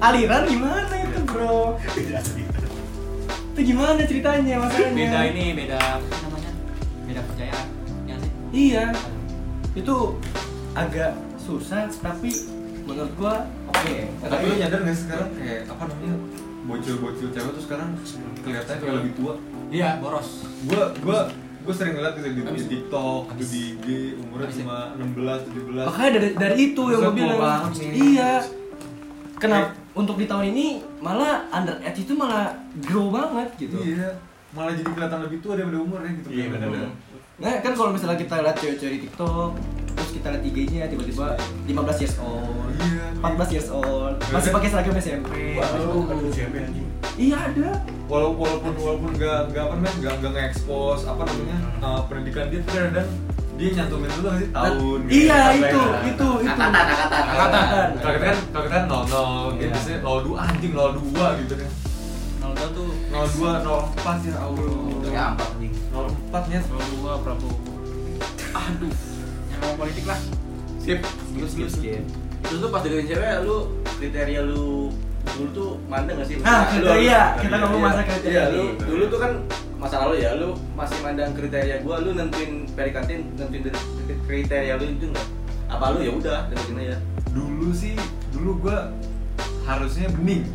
S1: aliran gimana itu
S3: Iya.
S1: bro itu gimana ceritanya masalahnya
S3: Beda ini, beda apa namanya? Beda percayaan. Ya sih.
S1: iya itu agak susah tapi menurut gua oke
S4: Eh, Tapi lu nyadar nggak sih sekarang kayak apa namanya? Bocil-bocil cewek tuh sekarang kelihatannya kayak lebih tua.
S3: Iya, boros.
S4: Gua gua gua sering ngeliat gitu di, di TikTok, gitu di IG umurnya cuma 16, 17.
S1: Makanya dari dari itu yang gue
S4: Susah
S1: bilang.
S4: banget sih.
S1: Iya. Kenapa untuk di tahun ini malah under age itu malah grow banget gitu.
S4: Iya, malah jadi kelihatan lebih tua daripada umurnya gitu.
S5: Iya, benar-benar.
S1: Nah, kan kalau misalnya kita lihat cewek-cewek di TikTok, terus kita lihat IG-nya tiba-tiba 15 years old,
S4: Iya.
S1: 14 years old, masih pakai seragam SMP.
S5: Waduh, aduh cewek anjing.
S1: Iya ada.
S4: Walau, walaupun walaupun nggak nggak apa namanya nggak nggak nge-expose apa namanya eh, pendidikan dia tapi kadang dia nyantumin dulu nggak sih tahun. gitu.
S1: Iya
S4: Apa
S1: itu,
S4: ya?
S1: itu, itu.
S4: Kalau kita kan kalau kita kan 00 gitu sih 02 anjing 02 gitu kan.
S3: 02 tuh
S4: 02 04 ya Allah.
S7: Gampang anjing.
S4: 04 nya
S6: Kalau gua Prabowo.
S3: yang mau politik lah.
S5: Skip, skip, skip, skip. Terus lu pas deketin cewek, lu kriteria lu dulu tuh mandang gak sih?
S1: Nah,
S5: Lu
S1: kriteria,
S5: harus-
S1: kita ngomong masa
S5: Iya,
S1: kriteria
S5: lu
S1: nih.
S5: dulu tuh kan masa lalu ya, lu masih mandang kriteria gua, lu nentuin PDKT, nentuin dari- kriteria lu itu enggak? Apa lu ya udah deketin aja.
S4: dulu sih dulu gua harusnya bening.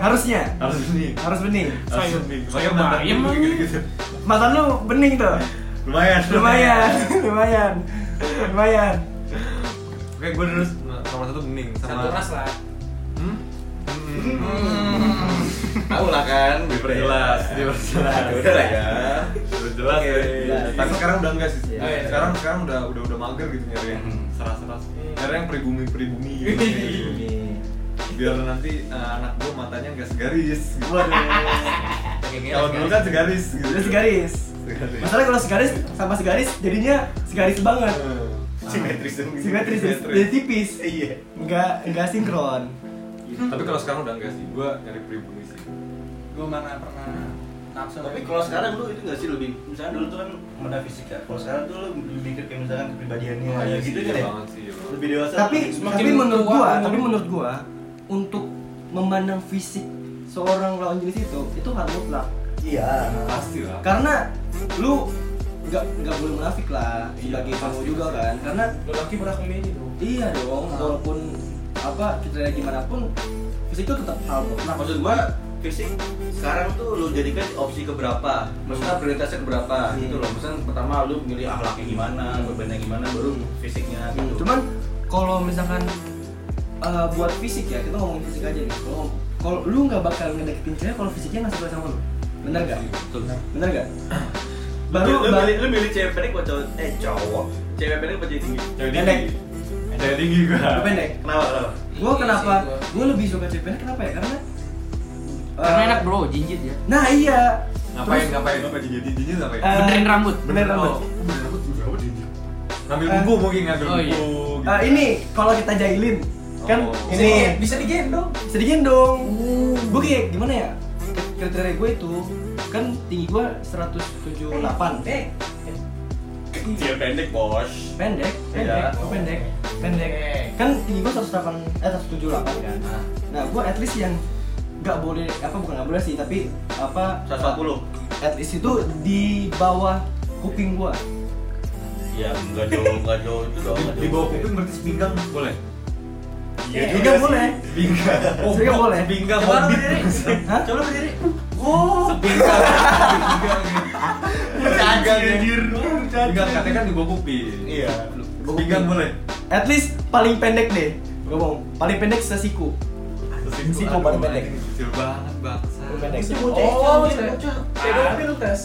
S1: Harusnya
S4: Harus bening.
S1: harus bening.
S4: Harus bening. Makanya
S6: saya
S4: mantan
S6: bayem
S4: gua
S6: lagi.
S4: gitu-gitu.
S1: Mata lu bening tuh.
S4: gitu. Lumayan.
S1: Lumayan, lumayan. Lumayan.
S4: Oke, gua dulu nomor satu bening sama
S3: Satu ras lah.
S4: Hmm?
S5: Tahu lah kan,
S4: Diperjelas, diperjelas.
S5: Aduh, udah lah ya.
S4: Udah jelas
S5: Oke,
S4: ya.
S5: jelas.
S4: Tapi sekarang udah enggak sih.
S1: Iya.
S4: Eh, sekarang sekarang udah udah udah mager gitu nyari yang seras-seras. Nyari yang pribumi-pribumi.
S1: Iya.
S4: gitu. Biar nanti eh, anak gua matanya enggak segaris. gitu. Kalau dulu kan segaris gitu.
S1: Terus garis.
S4: Segaris.
S1: Masalah kalau segaris sama segaris jadinya segaris banget.
S4: Eh, Simetris dong.
S1: Simetris, jadi tipis.
S4: Iya.
S1: Enggak enggak sinkron.
S4: Tapi kalau sekarang udah enggak sih. Gua nyari pribumi sih.
S3: Gua mana pernah nafsu.
S5: Tapi kalau sekarang lu itu gak sih lebih misalnya dulu tuh kan meda fisika. Kalau sekarang tuh lu lebih mikir kayak misalkan kepribadiannya
S4: Iya
S5: ya
S4: sih,
S5: gitu
S4: iya
S5: kan ya.
S4: banget sih. iya banget.
S5: Lebih dewasa.
S1: Tapi
S5: lebih-
S6: Semakin
S1: tapi menurut
S6: tua,
S1: gua,
S6: umur.
S1: tapi menurut gua untuk memandang fisik seorang lawan jenis itu itu hal mutlak.
S5: iya.
S4: Pasti lah.
S1: Karena lu nggak nggak boleh munafik lah
S4: Iya,
S1: sebagai cowok juga kan. Karena
S6: Lelaki pernah komedi tuh.
S1: iya dong,
S4: Ah.
S1: walaupun apa kita gimana pun fisik itu tetap hal mutlak.
S5: Nah, Maksud gua fisik sekarang tuh lu jadikan opsi keberapa? Maksudnya prioritasnya keberapa
S1: Hmm.
S5: gitu loh. Misalnya pertama lu milih akhlaknya gimana, berbanding gimana, baru fisiknya
S7: Hmm.
S5: gitu.
S1: Cuman kalau misalkan eh, buat fisik ya, kita ngomongin fisik aja nih. Kalau kalau lu nggak bakal ngedeketin cewek kalau fisiknya nggak sesuai sama lu. Bener gak? Bener gak? Baru
S5: lu, lu,
S1: baru
S5: milih, lu milih cewek pendek buat cowok eh cowok. Cewek pendek buat cewek tinggi.
S4: Cewek
S1: Pendek.
S4: tinggi. Cewek tinggi gua.
S1: Lu pendek.
S5: Kenapa? Kenapa?
S1: Gua
S6: Iya
S1: kenapa?
S6: sih, gua.
S1: Gua lebih suka cewek pendek kenapa ya? Karena eh,
S7: Karena enak bro, jinjit ya.
S1: Nah iya.
S4: Ngapain
S1: Terus,
S4: ngapain apa jadi jinjit ngapain?
S1: Eh,
S7: Benerin rambut.
S1: Benerin rambut.
S7: Oh.
S4: Bener rambut juga apa jinjit? Ngambil
S1: Eh.
S4: buku mungkin ngambil
S7: Oh,
S4: buku.
S7: iya.
S4: gitu.
S1: eh, ini kalau kita jahilin kan
S4: Oh.
S1: ini
S3: bisa digendong.
S1: bisa digendong. Gue kayak gimana ya? Kriteria gue itu kan tinggi gue 178.
S3: Eh,
S5: Dia pendek bos.
S1: pendek pendek
S5: Iya.
S1: oh, pendek pendek kan tinggi gua 108 eh 178 kan nah gua at least yang nggak boleh apa bukan nggak boleh sih tapi apa
S5: 140.
S1: at least itu di bawah kuping gua
S5: Ya enggak jauh enggak jauh itu dong.
S4: Di- Di bawah kuping berarti sepinggang boleh. Oh,
S5: Iya
S1: Eh,
S5: juga
S1: nggak
S5: sih.
S1: boleh.
S5: Pinggang.
S1: Serius nggak boleh
S4: Sepinggang
S3: Coba lu
S4: hobbit.
S3: berdiri.
S1: Hah?
S3: Coba lu berdiri.
S4: Sepinggang.
S5: Pinggang anjir.
S4: Oh, Sepinggang katanya kan di bawah kuping.
S5: Iya.
S4: Sepinggang boleh.
S1: at least paling pendek deh gua bohong paling pendek sesiku
S4: Sesiku,
S1: Sesiku
S4: aduh,
S1: paling pendek.
S4: anjing, Kecil banget bangsa.
S1: pendek sih
S6: Oh, pedofil tes.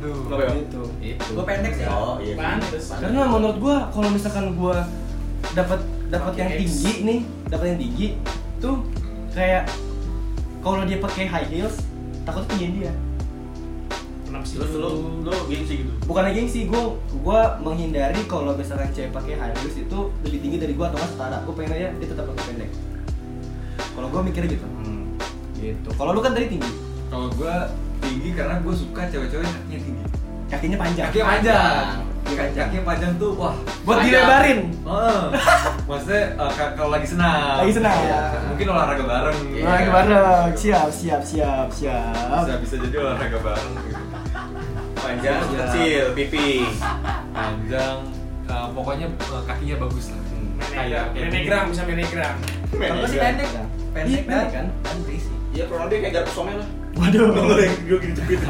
S4: Aduh.
S1: gitu
S7: Itu.
S3: Gua pendek sih.
S5: Oh iya.
S6: Pantes.
S1: karena menurut gua kalau misalkan gua dapat dapat
S6: Pakai
S1: yang
S6: X.
S1: tinggi nih dapat yang tinggi tuh kayak kalau dia pakai high heels takut tinggi dia
S6: Kenapa sih?
S5: Lu lu lu gengsi gitu.
S1: bukan geng sih gua gua menghindari kalau misalkan cewek pakai high heels itu lebih tinggi dari gua atau nggak setara gua pengen aja dia tetap pakai pendek kalau gua mikirnya gitu gitu kalau lu kan tadi tinggi
S4: Kalau gua tinggi karena gua suka cewek-cewek yang kakinya tinggi.
S1: kakinya panjang
S4: Kakinya panjang. Kakinya panjang tuh wah.
S1: buat
S2: Panjang.
S1: dilebarin
S4: Heeh. Maksudnya eh, ka- kalau lagi senang.
S1: Lagi senang.
S4: Iya. Mungkin olahraga bareng. Iya.
S1: Nah, gimana? Siap, siap, siap, siap.
S4: Bisa bisa jadi olahraga bareng. gitu.
S5: Panjang,
S4: Iya.
S5: kecil, pipi.
S4: Panjang. eh, pokoknya eh, kakinya bagus lah. gitu.
S6: Menegram, menegram bisa menegram.
S1: Kalau
S4: kan?
S1: gua sih pendek.
S3: Iya.
S1: Pendek, pendek kan?
S5: Iya, kurang lebih kayak jarak somel lah.
S1: Waduh.
S5: gue gitu gitu.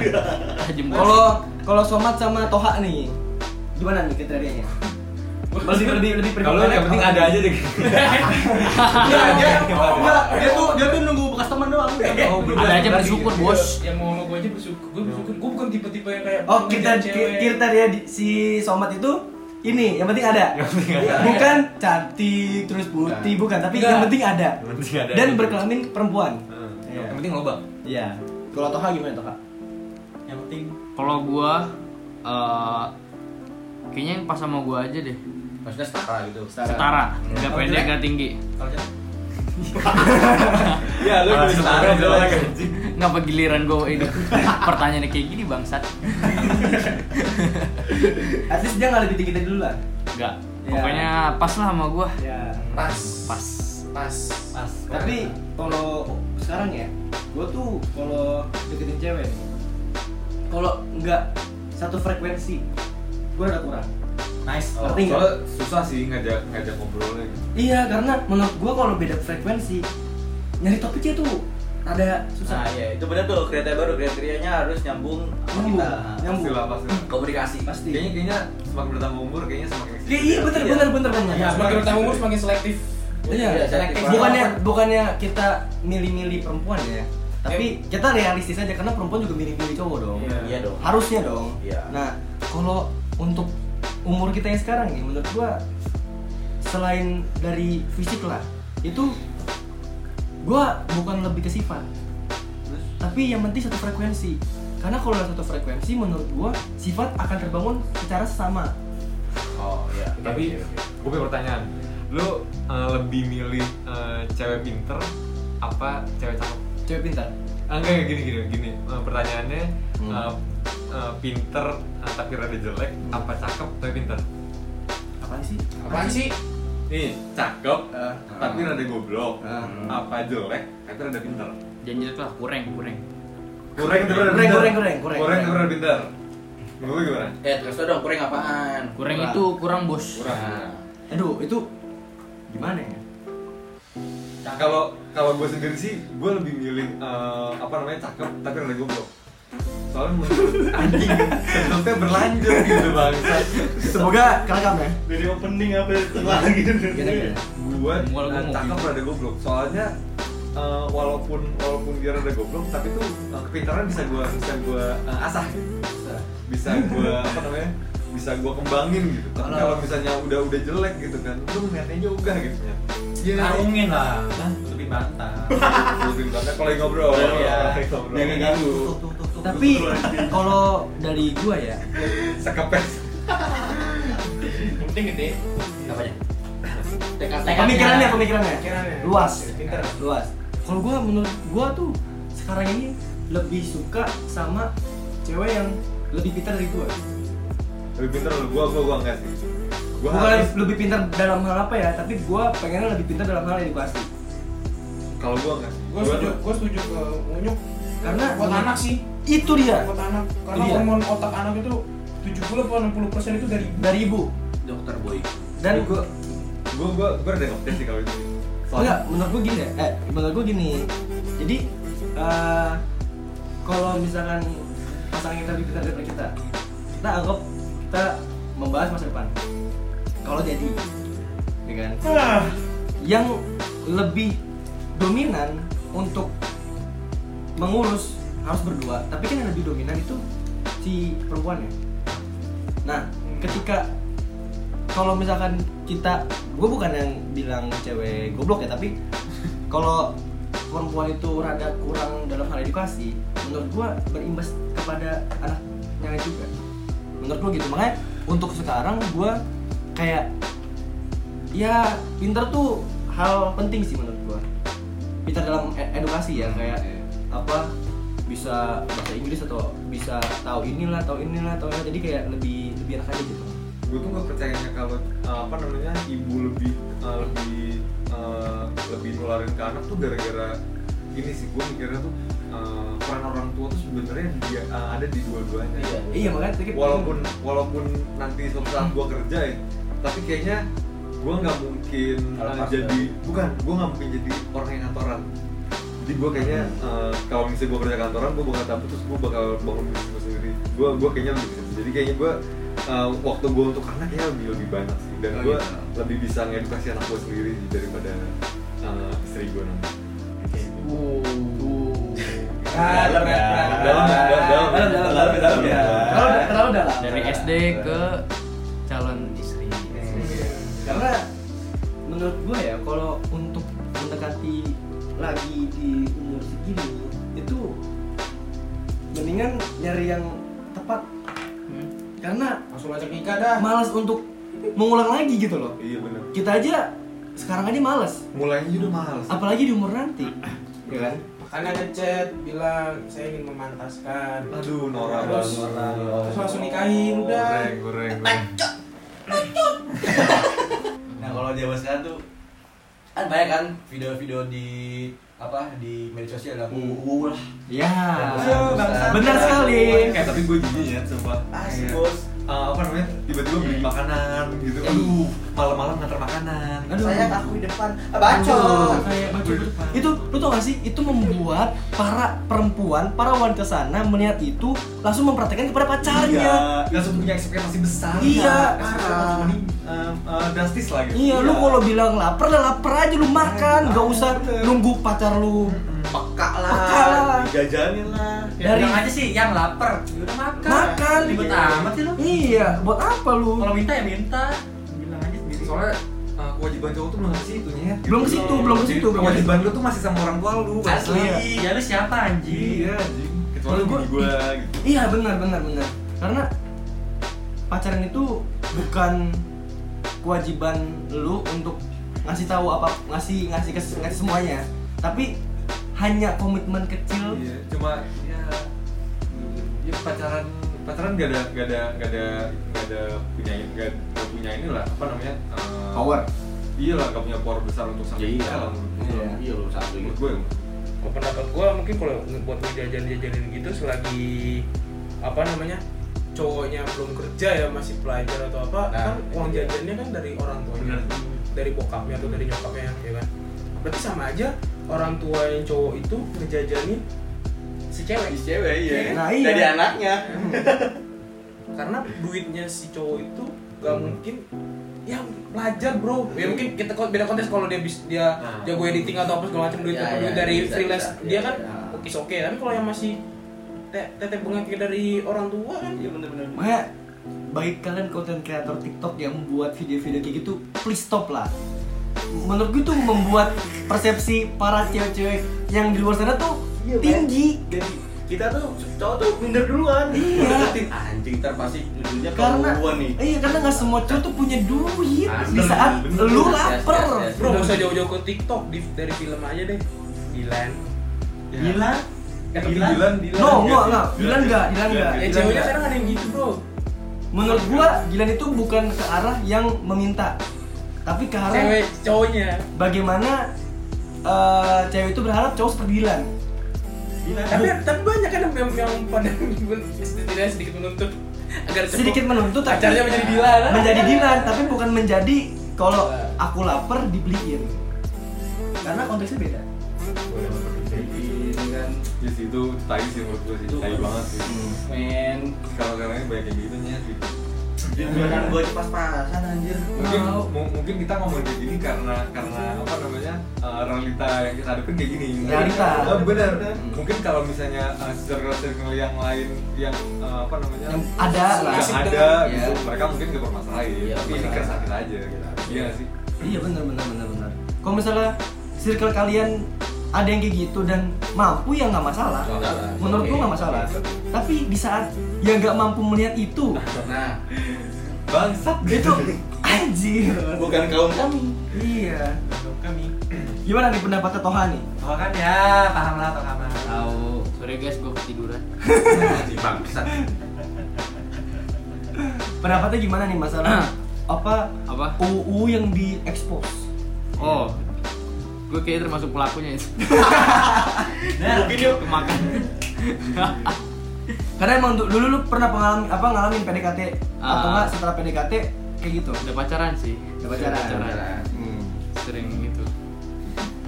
S7: Jempol.
S1: Kalau kalau Somad sama Toha nih, gimana nih kriterianya? Lebih lebih lebih Iya,
S4: Kalau yang penting ada aja deh.
S1: Enggak, dia, enggak, dia tuh dia tuh nunggu bekas teman doang.
S4: Oh, bener.
S7: Ada aja bersyukur, Bos.
S6: Iya, Yang mau sama gue aja bersyukur, gue bersyukur. Gue bukan tipe-tipe yang kayak
S1: Oh, kita ki-
S6: ngejar cewek.
S1: kriteria di- si Somad itu ini yang penting ada. Bukan cantik terus putih, bukan, tapi
S6: Enggak.
S1: yang penting ada.
S4: Yang penting ada
S1: Dan
S4: aja.
S1: berkelamin perempuan.
S4: Heeh.
S1: Iya.
S4: Yang penting lobang.
S1: Iya. Kalau Toha gimana Toha?
S3: Yang penting
S7: Kalau gua eh, kayaknya yang pas sama gua aja deh.
S5: Maksudnya setara gitu.
S7: Setara, nggak
S3: Kalau
S7: pendek
S3: jelek?
S7: nggak tinggi.
S3: kalau jalan
S5: Iya, lu
S4: Ah,
S5: juga setara.
S4: setara,
S5: dong.
S4: anjing.
S7: Ngapa giliran gua ini? Pertanyaannya kayak gini bangsat.
S1: At least dia nggak lebih tinggi dari dulu lah.
S7: Enggak.
S1: Ya.
S7: Pokoknya pas lah sama gua.
S1: Ya.
S6: pas,
S7: Pas.
S6: pas.
S3: pas.
S1: Tapi kalau sekarang ya, gue tuh kalau deketin cewek, kalau nggak satu frekuensi, gue ada kurang.
S3: nice.
S1: Oh. Ngerti nggak?
S4: Soalnya susah sih ngajak ngajak ngobrolnya. gitu.
S1: Iya, karena menurut gue kalau beda frekuensi, nyari topiknya tuh ada susah.
S5: Nah, iya, itu benar tuh kriteria baru kriterianya harus nyambung sama
S1: Nyambung,
S5: kita.
S1: nyambung.
S4: Pasti lah pasti. lah.
S5: Komunikasi.
S1: Pasti.
S4: Kayaknya kayaknya semakin bertambah umur kayaknya semakin.
S1: Iya, iya bener,
S5: Iya.
S1: bener, bener, bener.
S6: Ya, semakin bertambah umur semakin selektif.
S1: Iya,
S5: Iya, selektif.
S1: bukannya bukannya kita milih-milih perempuan ya, tapi kita realistis aja karena perempuan juga milih-milih cowok dong.
S5: Iya dong.
S1: harusnya dong
S5: Iya.
S1: nah kalau untuk umur kita yang sekarang nih menurut gua selain dari fisik lah itu gua bukan lebih ke sifat tapi yang penting satu frekuensi karena kalau ada satu frekuensi menurut gua sifat akan terbangun secara sama
S5: Oh, iya.
S4: Tapi gue punya pertanyaan. Lu eh, lebih milih eh, cewek pinter apa cewek cakep?
S1: cewek pintar
S4: Ah, Enggak enggak, gini gini gini. Eh, pertanyaannya
S1: Hmm.
S4: eh, eh, pinter eh, tapi rada jelek apa cakep tapi pinter?
S1: apaan sih
S6: Apaan sih?
S4: Nih, cakep
S1: Eh,
S4: tapi rada goblok.
S1: eh.
S4: Apa jelek tapi rada pinter?
S7: Jangan jelek lah, kurang, kurang.
S4: Kurang tapi rada
S1: Kurang,
S4: pinter.
S1: kurang, kurang, kurang.
S4: Kurang tapi rada pinter. Menurut lu gimana?
S5: Eh, terus tuh dong kurang apaan?
S7: Kurang
S1: Kurang.
S7: itu kurang, Bos. Nah.
S4: Kurang.
S1: aduh itu gimana ya
S4: kalau kalau gue sendiri sih gue lebih milih eh, apa namanya cakep tapi rada goblok soalnya menurut anjing sebelumnya berlanjut gitu bangsa
S1: semoga kerekam ya
S5: Dari opening apa lagi? iya.
S4: gue
S7: Mual gua mau
S4: cakep
S7: bingung.
S4: rada goblok soalnya eh, walaupun walaupun dia rada goblok tapi tuh eh, kepintaran bisa gue bisa gue eh, asah gitu. bisa gue apa namanya bisa gue kembangin gitu tapi
S3: Kalau-
S4: kalau misalnya udah udah jelek gitu kan lu ngeliatnya juga gitu ya
S3: Karungin lah. Lebih bantah.
S4: Lebih banget kalau lagi ngobrol
S5: Iya.
S4: Kalau lagi ngobrol.
S5: Jangan ganggu.
S1: tapi kalau dari gua ya
S4: sekepes
S6: Yang penting gede.
S5: Apanya?
S1: pemikirannya pemikirannya
S6: Pemikirannya.
S1: luas
S6: Pinter.
S1: luas kalau gua menurut gua tuh sekarang ini lebih suka sama cewek yang lebih pintar dari gua
S4: lebih pintar lu gua gua gua enggak sih gua
S1: bukan
S4: harus
S1: lebih pintar dalam hal apa ya tapi gue pengennya lebih pintar dalam hal edukasi
S4: kalau gua enggak
S6: Gue setuju, gue setuju ke Unyuk
S1: karena
S6: Buat anak sih,
S1: itu dia
S6: buat anak Karena
S1: Iya.
S6: hormon otak anak itu 70 atau 60 persen itu dari
S1: dari ibu
S2: dokter boy
S1: dan
S4: gua gua gua gua ada yang update sih kalau itu soalnya
S1: Enggak, menurut gue gini ya. Eh, menurut gue gini. Jadi eh kalau misalkan pasangan kita lebih pintar daripada kita, kita anggap kita membahas masa depan. Kalau jadi, ya kan? Yang lebih dominan untuk mengurus harus berdua, tapi kan yang lebih dominan itu si perempuan ya. Nah, ketika kalau misalkan kita gue bukan yang bilang cewek goblok ya tapi kalau perempuan itu rada kurang dalam hal edukasi menurut gue berimbas kepada anaknya juga menurut gue gitu makanya untuk sekarang gue kayak ya pinter tuh hal penting sih menurut gue pinter dalam e- edukasi ya kayak apa bisa bahasa Inggris atau bisa tahu inilah tahu inilah tahu inilah jadi kayak lebih lebih enak aja gitu
S4: gue tuh nggak percayanya kalau uh, apa namanya ibu lebih uh, lebih uh, lebih nularin ke anak tuh gara-gara ini sih gue mikirnya tuh uh, peran orang tua tuh sebenarnya dia uh, ada di dua-duanya
S1: iya makanya tadi-
S4: walaupun walaupun nanti suatu saat gue kerja ya tapi kayaknya gue nggak mungkin
S5: Kalau
S4: uh,
S5: pas-
S4: jadi bukan gue nggak mungkin jadi orang yang kantoran jadi gue kayaknya uh, kalau misalnya gue kerja kantoran gue bakal cabut terus gue bakal bangun bisnis gue sendiri gue gue kayaknya lebih bisa jadi kayaknya gue uh, waktu gue untuk anak kayaknya lebih lebih banyak sih dan
S5: Oh,
S4: gue
S5: gitu.
S4: lebih bisa ngedukasi anak gue sendiri sih daripada uh, istri gue nanti
S1: Ah,
S5: Dalam ya.
S4: Dalam, dalam, dalam.
S1: dalam, dalam, dalam, dalam,
S5: ya.
S1: Terlalu- terlalu dalam.
S7: dari
S6: Iya.
S7: SD ke calon istri
S1: Karena menurut gue ya kalau untuk mendekati lagi di umur segini itu mendingan nyari yang tepat
S7: Hmm.
S1: karena
S6: langsung ajak nikah dah
S1: malas untuk mengulang lagi gitu loh.
S4: iya benar
S1: Kita aja sekarang aja malas,
S4: mulainya juga mahal sih.
S1: apalagi di umur nanti. Ya kan?
S6: Makanya ngechat, bilang saya ingin memantaskan
S4: aduh norak
S6: Terus-
S4: banget.
S6: Terus langsung nikahin
S4: goreng
S6: udah
S4: goreng goreng
S5: Nah kalau zaman sekarang tuh kan banyak kan video-video di apa di media sosial lah. Uh, lah.
S1: Ya.
S5: Iya, bangsa.
S1: Benar sekali.
S4: Eh
S3: gitu.
S4: tapi gue jijik ya sumpah
S5: Asik
S4: Kayak,
S5: bos.
S4: eh, Apa namanya, tiba-tiba beli makanan gitu Aduh, malam-malam nganter makanan
S1: Iya. Aduh. Iya.
S5: Saya aku di depan. Ah, bacot.
S1: Kayak baju depan. itu lu tau gak sih itu membuat para perempuan para wanita sana melihat itu langsung mempraktekkan kepada
S4: Iya,
S1: pacarnya
S4: langsung punya ekspektasi besar Nah,
S1: Iya,
S4: ekspektasi
S1: parah.
S4: langsung mening- eh, eh, drastis lah gitu
S1: iya lu
S5: Iya.
S1: kalau bilang lapar udah lapar aja lu makan gak usah nunggu pacar lu
S5: Peka lah.
S1: Peka lah.
S5: Dijajanin lah.
S3: Ya,
S1: Dari-
S3: bilang aja sih yang lapar, ya udah makan.
S1: Makan.
S3: Ribet amat sih Nah, lu.
S1: iya buat apa lu
S3: Kalau minta ya minta. Bilang aja sendiri.
S4: Soalnya eh, kewajiban cowok tuh belum ke situ ya
S1: Belum ke situ, belum ke situ, belum ke
S4: Kewajiban lu tuh masih sama orang tua lu
S3: asli.
S4: bangsa.
S3: Ya lu siapa anjing?
S4: Iya, anjing Kecuali
S1: Kalau gua-
S4: bini gue gitu
S1: iya benar benar benar karena pacaran itu bukan kewajiban lu untuk ngasih tahu apa ngasih ngasih kes, ngasih semuanya tapi hanya komitmen kecil
S4: Iya, cuma ya, ya pacaran pacaran gak ada gak ada gak ada gak ada punya gak, gak punya inilah apa namanya eh, iya lah gak punya power besar untuk sampai
S5: Iya.
S4: nikah lah menurut gue.
S1: Iya.
S5: Iya lu satu
S4: menurut ya.
S5: gitu.
S4: gue
S1: Eh,
S6: Kalau pendapat gua mungkin kalau buat lu jajan-jajanin gitu selagi apa namanya cowoknya belum kerja ya masih pelajar atau apa
S5: Nah,
S6: kan uang
S5: iya.
S6: jajannya kan dari orang tuanya
S4: Benar.
S6: dari bokapnya atau dari nyokapnya ya kan berarti sama aja orang tua yang cowok itu ngejajanin si cewek
S5: Si cewek iya.
S1: Nah, iya.
S5: Jadi anaknya.
S6: karena duitnya si cowok itu gak
S5: Hmm.
S6: mungkin ya pelajar bro ya mungkin kita kon- beda konteks kalau dia bis, dia
S4: Nah.
S6: jago editing atau apa segala macam duit,
S5: Ah. Ya,
S6: duit
S5: ya,
S6: dari
S5: bisa,
S6: freelance
S5: bisa.
S6: dia
S5: Ya,
S6: kan
S5: ya.
S6: oke oke tapi kalau yang masih te- tete bengeknya dari orang tua kan
S5: Iya bener-bener.
S1: Makanya bagi kalian konten kreator TikTok yang membuat video-video kayak gitu, please stop lah. Menurut gue itu membuat persepsi para cewek-cewek yang di luar sana tuh
S5: Iya, Pak.
S1: tinggi.
S5: Jadi kita tuh cowok tuh minder duluan.
S1: Iya.
S5: Deketin, anjing ntar pasti judulnya
S1: Karena
S5: ketahuan nih.
S1: iya karena nggak semua cowok tuh punya duit
S5: Ah,
S1: di
S5: bener,
S1: saat
S5: bener,
S1: lu
S5: bener.
S1: lapar.
S5: Yes, yes, yes.
S6: bro gak usah jauh-jauh ke TikTok di- dari film aja deh Dilan
S5: Gila.
S6: Eh,
S4: Dilan,
S1: No, enggak, enggak. Dilan enggak, Dilan enggak.
S6: eh ceweknya sekarang ada yang gitu bro
S1: menurut gua Gilan itu bukan ke arah yang meminta tapi ke arah
S6: cewek cowoknya
S1: bagaimana eh, cewek itu berharap cowok seperti Gilan
S6: tapi tapi banyak kan yang yang pada setidaknya sedikit menuntut agar cepat-
S1: sedikit menuntut tapi-
S6: pacarnya menjadi kan? Gilan
S2: ah.
S1: menjadi Gilan tapi bukan menjadi kalau
S2: Iya.
S1: aku lapar dibeliin karena konteksnya beda
S2: Iya.
S5: kan
S4: Yes, itu tai sih menurut gue sih, tai banget sih.
S5: men
S4: Kalau sekarang banyak yang gitu nya sih.
S5: Jangan gue aja pas-pasan anjir
S4: Mungkin mu- mungkin kita ngomong kayak gini karena karena apa namanya eh, realita yang kita hadapin kayak gini.
S1: Realita. Hmm.
S4: Oh, benar. Mungkin kalau misalnya eh, circle-circle yang lain yang eh, apa namanya
S1: Yang ada lah.
S4: yang
S6: Asik
S4: ada
S1: dengan-
S4: gitu,
S1: Iya.
S4: mereka mungkin gak bermasalahin.
S1: Iya,
S4: tapi ini
S1: bermasalah.
S4: kan sakit aja. Gitu. Iya nggak sih.
S1: iya benar benar benar benar kalau misalnya circle kalian ada yang kayak gitu dan mampu ya nggak masalah
S2: Nggak masalah.
S1: menurut gua
S2: Oke.
S1: nggak masalah tapi di saat yang nggak mampu melihat itu
S2: Nah,
S4: Bangsat
S1: itu anjir
S5: Bukan kaum kami
S1: iya
S3: kami
S1: gimana nih pendapatnya Toha nih
S3: oh kan ya paham lah atau kamar
S7: Tahu. Sorry guys, gue ketiduran.
S5: Bangsat
S1: pendapatnya gimana nih masalah apa
S7: Apa?
S1: UU yang diekspos
S7: Oh. Gue kayaknya termasuk pelakunya itu.
S5: Mungkin yuk
S7: Kemakan.
S1: karena emang du- dulu lu pernah pengalaman apa ngalamin PDKT atau
S7: Ah.
S1: enggak setelah PDKT kayak gitu
S7: Udah pacaran sih.
S1: Udah pacaran. hmm.
S7: Sering gitu.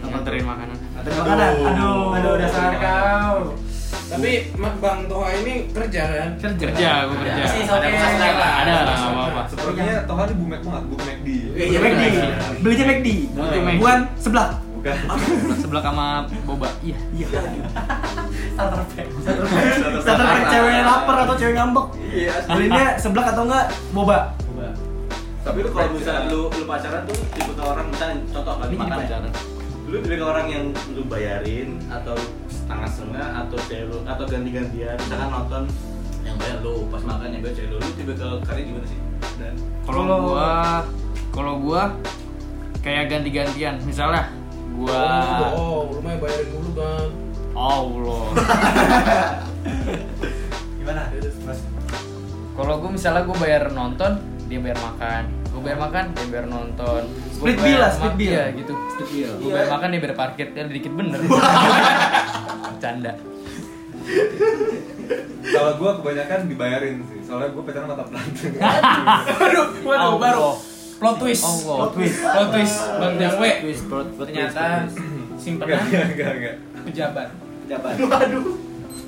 S1: Apa
S7: Nganterin makanan.
S1: ada makanan aduh
S3: aduh dasar kau
S6: tapi Ma- bang Toha ini kerja kan
S1: kerja
S7: Kerja, gue Iya,
S6: Iya,
S7: kerja.
S3: Masih, oke.
S6: masalah lah.
S7: Ada lah, nggak apa-apa.
S4: Sepertinya Tohan ini bumek banget, bumek di.
S1: Iya,
S6: Iya,
S1: McD.
S6: iya.
S1: Belinya McD.
S7: Belinya McD.
S1: Bukan sebelah.
S4: Bukan.
S7: Sebelah sama boba. Iya.
S1: Iya.
S3: starter pack
S1: Starter pack cewek lapar atau cewek ngambek.
S5: Iya
S1: Belinya sebelah atau enggak boba.
S5: Tapi lu kalau misalnya lu, lu pacaran tuh tipe ke orang misalnya contoh lagi
S7: Ini jadi
S5: makan ya.
S7: pacaran.
S5: Lu tipe ke orang yang lu bayarin atau setengah-setengah atau cewek lu atau ganti-gantian misalkan nonton yang bayar lu pas makan yang bayar cewek lu lu tipe ke karya gimana sih? Dan
S7: Kalau
S1: Kalau-
S7: gua kalau gua kayak ganti-gantian. Misalnya gua
S6: oh rumahnya bayarin dulu bang
S7: Allah.
S3: gimana mas
S7: Kalau gua misalnya gua bayar nonton, dia bayar makan. Gua bayar makan, dia bayar nonton. Gua
S1: Oh. Split
S7: bayar
S1: bill lah,
S7: ma-
S1: split bill.
S7: Iya, gitu.
S1: Stabil.
S7: Gua bayar makan, dia bayar parkir. Dia dikit bener. Canda.
S4: Kalau gua kebanyakan dibayarin sih. Soalnya gua pacaran mata pelanting.
S6: waduh waduh baru plot twist
S7: Allah.
S6: plot twist bang Jangwe
S7: Twist, plot, plot twist, plot
S6: ternyata
S7: twist.
S4: Enggak,
S7: Iya,
S6: simpenan
S4: enggak, enggak, enggak.
S6: pejabat
S1: Dapat.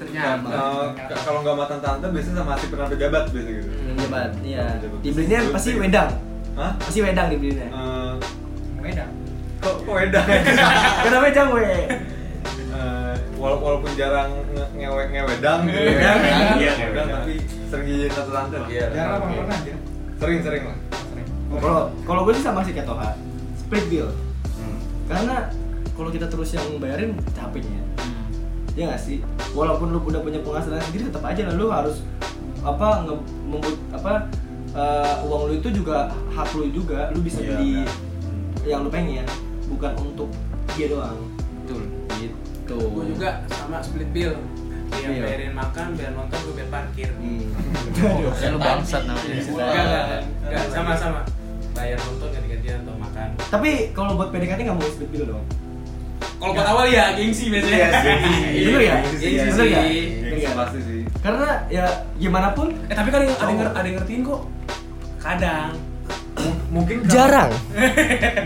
S6: ternyata
S4: Eh, k- kalau nggak mantan tante biasanya sama si pernah pejabat biasa gitu.
S1: Dapat. Iya. Dibelinya pasti wedang.
S4: Hah?
S1: Pasti wedang dibelinya.
S4: Eh,
S3: beda
S4: kok kok wedang?
S1: Karena wedang we.
S4: Eh, wala- walaupun jarang nge ngewe ngewedang gitu
S1: Iya,
S4: ya.
S1: iya,
S5: iya,
S4: Ngewedang,
S5: iya.
S4: tapi sering jadi tante tante lah.
S5: Iya.
S3: jarang apa pernah ya
S4: Sering sering lah.
S3: sering
S1: Kalau kalau gue sih sama sih kayak Toha. Split bill. Karena kalau kita terus yang bayarin capeknya. ya nggak sih walaupun lu udah punya penghasilan sendiri tetap aja lah lu harus apa nge membu- apa eh, uang lu itu juga hak lu juga lu bisa
S5: Iya,
S1: beli yang lu pengen ya. bukan untuk dia doang
S7: Betul.
S1: gitu
S6: gue juga sama split bill
S1: Iya.
S6: dia bayarin makan biar nonton gue biar parkir
S7: Iya.
S1: hmm.
S7: Ya lu bangsat
S6: Iya,
S7: namanya.
S6: Enggak, enggak, enggak, sama-sama bayar nonton ganti-gantian atau makan
S1: tapi kalau buat PDKT nggak mau split bill dong
S6: kalau buat awal ya gengsi
S1: Iya,
S4: Iya,
S6: biasanya Iya,
S1: bener ya
S4: Gengsi,
S1: Iya,
S4: gengsi.
S1: bener ya
S4: Yang
S1: Bener ya?
S4: pasti sih.
S1: karena ya gimana pun
S6: eh tapi kan ada yang, ada yang, nger- ada yang ngertiin kok kadang
S4: M- mungkin kalau-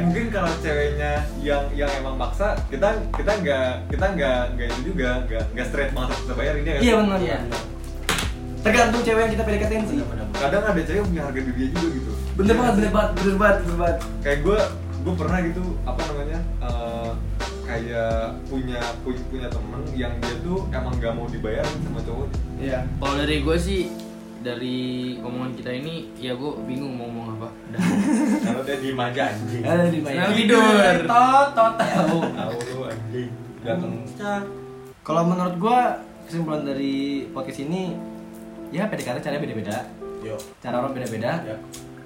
S4: mungkin kalau ceweknya yang yang emang maksa kita kita nggak kita nggak nggak itu juga nggak nggak straight banget harus kita bayarin ya nggak
S1: iya
S4: sih?
S1: benar ya tergantung cewek yang kita PDKT sih
S4: kadang ada cewek yang punya harga dirinya juga gitu
S1: bener banget bener banget bener banget bener banget
S4: kayak gue gue pernah gitu apa namanya eh, kayak punya punya, punya temen yang dia tuh emang nggak mau dibayarin sama cowoknya
S1: iya
S7: Kalau dari gue sih dari omongan kita ini ya gue bingung mau ngomong apa. Dah.
S5: Kalau dia diem aja anjing
S1: ada di mana
S6: tidur
S3: tot tot
S1: tahu
S4: tahu lu anjing
S1: Hmm. Kalau menurut gua kesimpulan dari podcast ini ya PDKT caranya beda-beda,
S5: Yo
S1: cara orang beda-beda.
S5: Ya.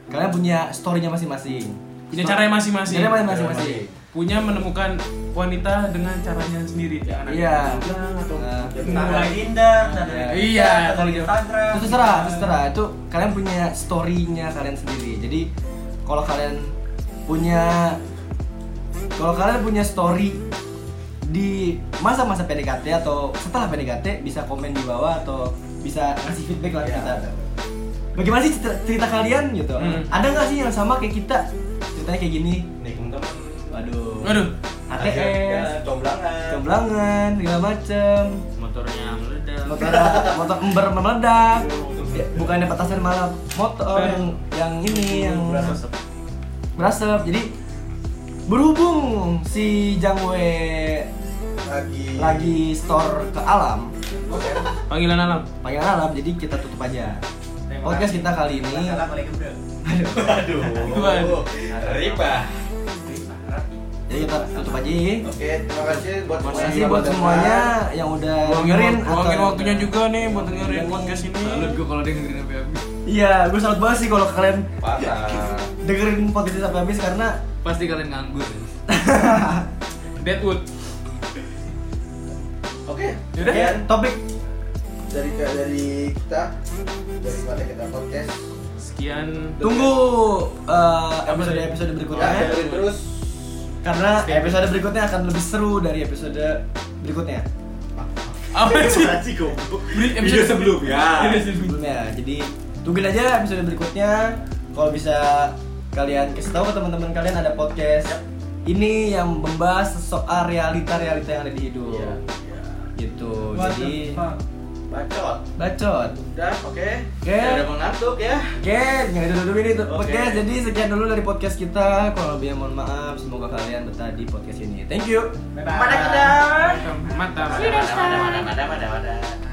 S1: Kalian punya story-nya masing-masing.
S6: Punya caranya masing-masing.
S1: Caranya masing-masing.
S6: punya menemukan wanita dengan caranya sendiri ya anak
S1: Iya.
S6: Bilang atau
S1: Nah.
S3: Mulai Tinder, dari
S1: Iya.
S6: Iya,
S3: dari
S6: kalau gitu.
S3: Instagram.
S1: itu terserah terserah itu kalian punya story-nya kalian sendiri jadi kalau kalian punya kalau kalian punya story di masa-masa PDKT atau setelah PDKT bisa komen di bawah atau bisa ngasih feedback lah ke kita bagaimana sih cerita, cerita kalian gitu
S6: Hmm.
S1: ada nggak sih yang sama kayak kita ceritanya kayak gini
S5: Nih, teman
S1: waduh
S6: Waduh.
S1: ATS
S5: comblangan.
S1: keblangan segala macem
S2: motornya meledak
S1: motor motor ember meledak Ya,
S5: Iya.
S1: bukannya petasan malah motor
S6: Eh.
S1: yang yang ini yang
S5: Berasap.
S1: berasap jadi berhubung si Jangwe
S5: Lagi
S1: lagi store ke alam
S5: Oke.
S6: panggilan alam
S1: panggilan alam jadi kita tutup aja podcast kita kali ini
S3: Assalamualaikum bro.
S5: Aduh.
S6: Waduh.
S5: Ripa.
S1: jadi kita tutup aja ya
S5: Oke, terima kasih buat
S1: terima
S5: semuanya.
S1: kasih buat semuanya yang udah dengerin
S6: Luangin
S1: atau-
S6: waktunya juga nih buat dengerin podcast ini
S7: Salut gue kalau dia dengerin sampai habis.
S1: iya gue salut banget sih kalau kalian
S5: Parah.
S1: dengerin podcast sampai habis karena
S7: Pasti kalian nganggur.
S6: Deadwood
S5: Oke.
S6: Yaudah.
S5: sekian
S1: ya, topik
S5: Dari dari kita dari Mata kita podcast.
S6: sekian
S1: tunggu episode episode berikutnya
S5: Ya, dengerin terus.
S1: karena episode berikutnya akan lebih seru dari episode berikutnya
S6: apa sih Beri- episode
S5: Iya.
S6: sebelum
S4: ya.
S1: sebelumnya jadi tungguin aja episode berikutnya kalau bisa kalian kasih tahu ke teman-teman kalian ada podcast ini yang membahas soal realita-realita yang ada di hidup
S5: Iya.
S1: gitu
S3: What
S1: jadi
S3: the fuck?
S5: Bacot.
S1: bacot
S5: Udah, oke.
S1: Oke.
S5: Ya Udah mau ngantuk ya.
S1: Oke, jangan itu dulu ini tuh
S5: Oke.
S1: podcast. Jadi sekian dulu dari podcast kita. Kalau lebih mohon maaf. Semoga kalian betah di podcast ini. Thank you.
S5: Mata kita.
S6: mata
S5: Mata, mata, mata, mata, mata.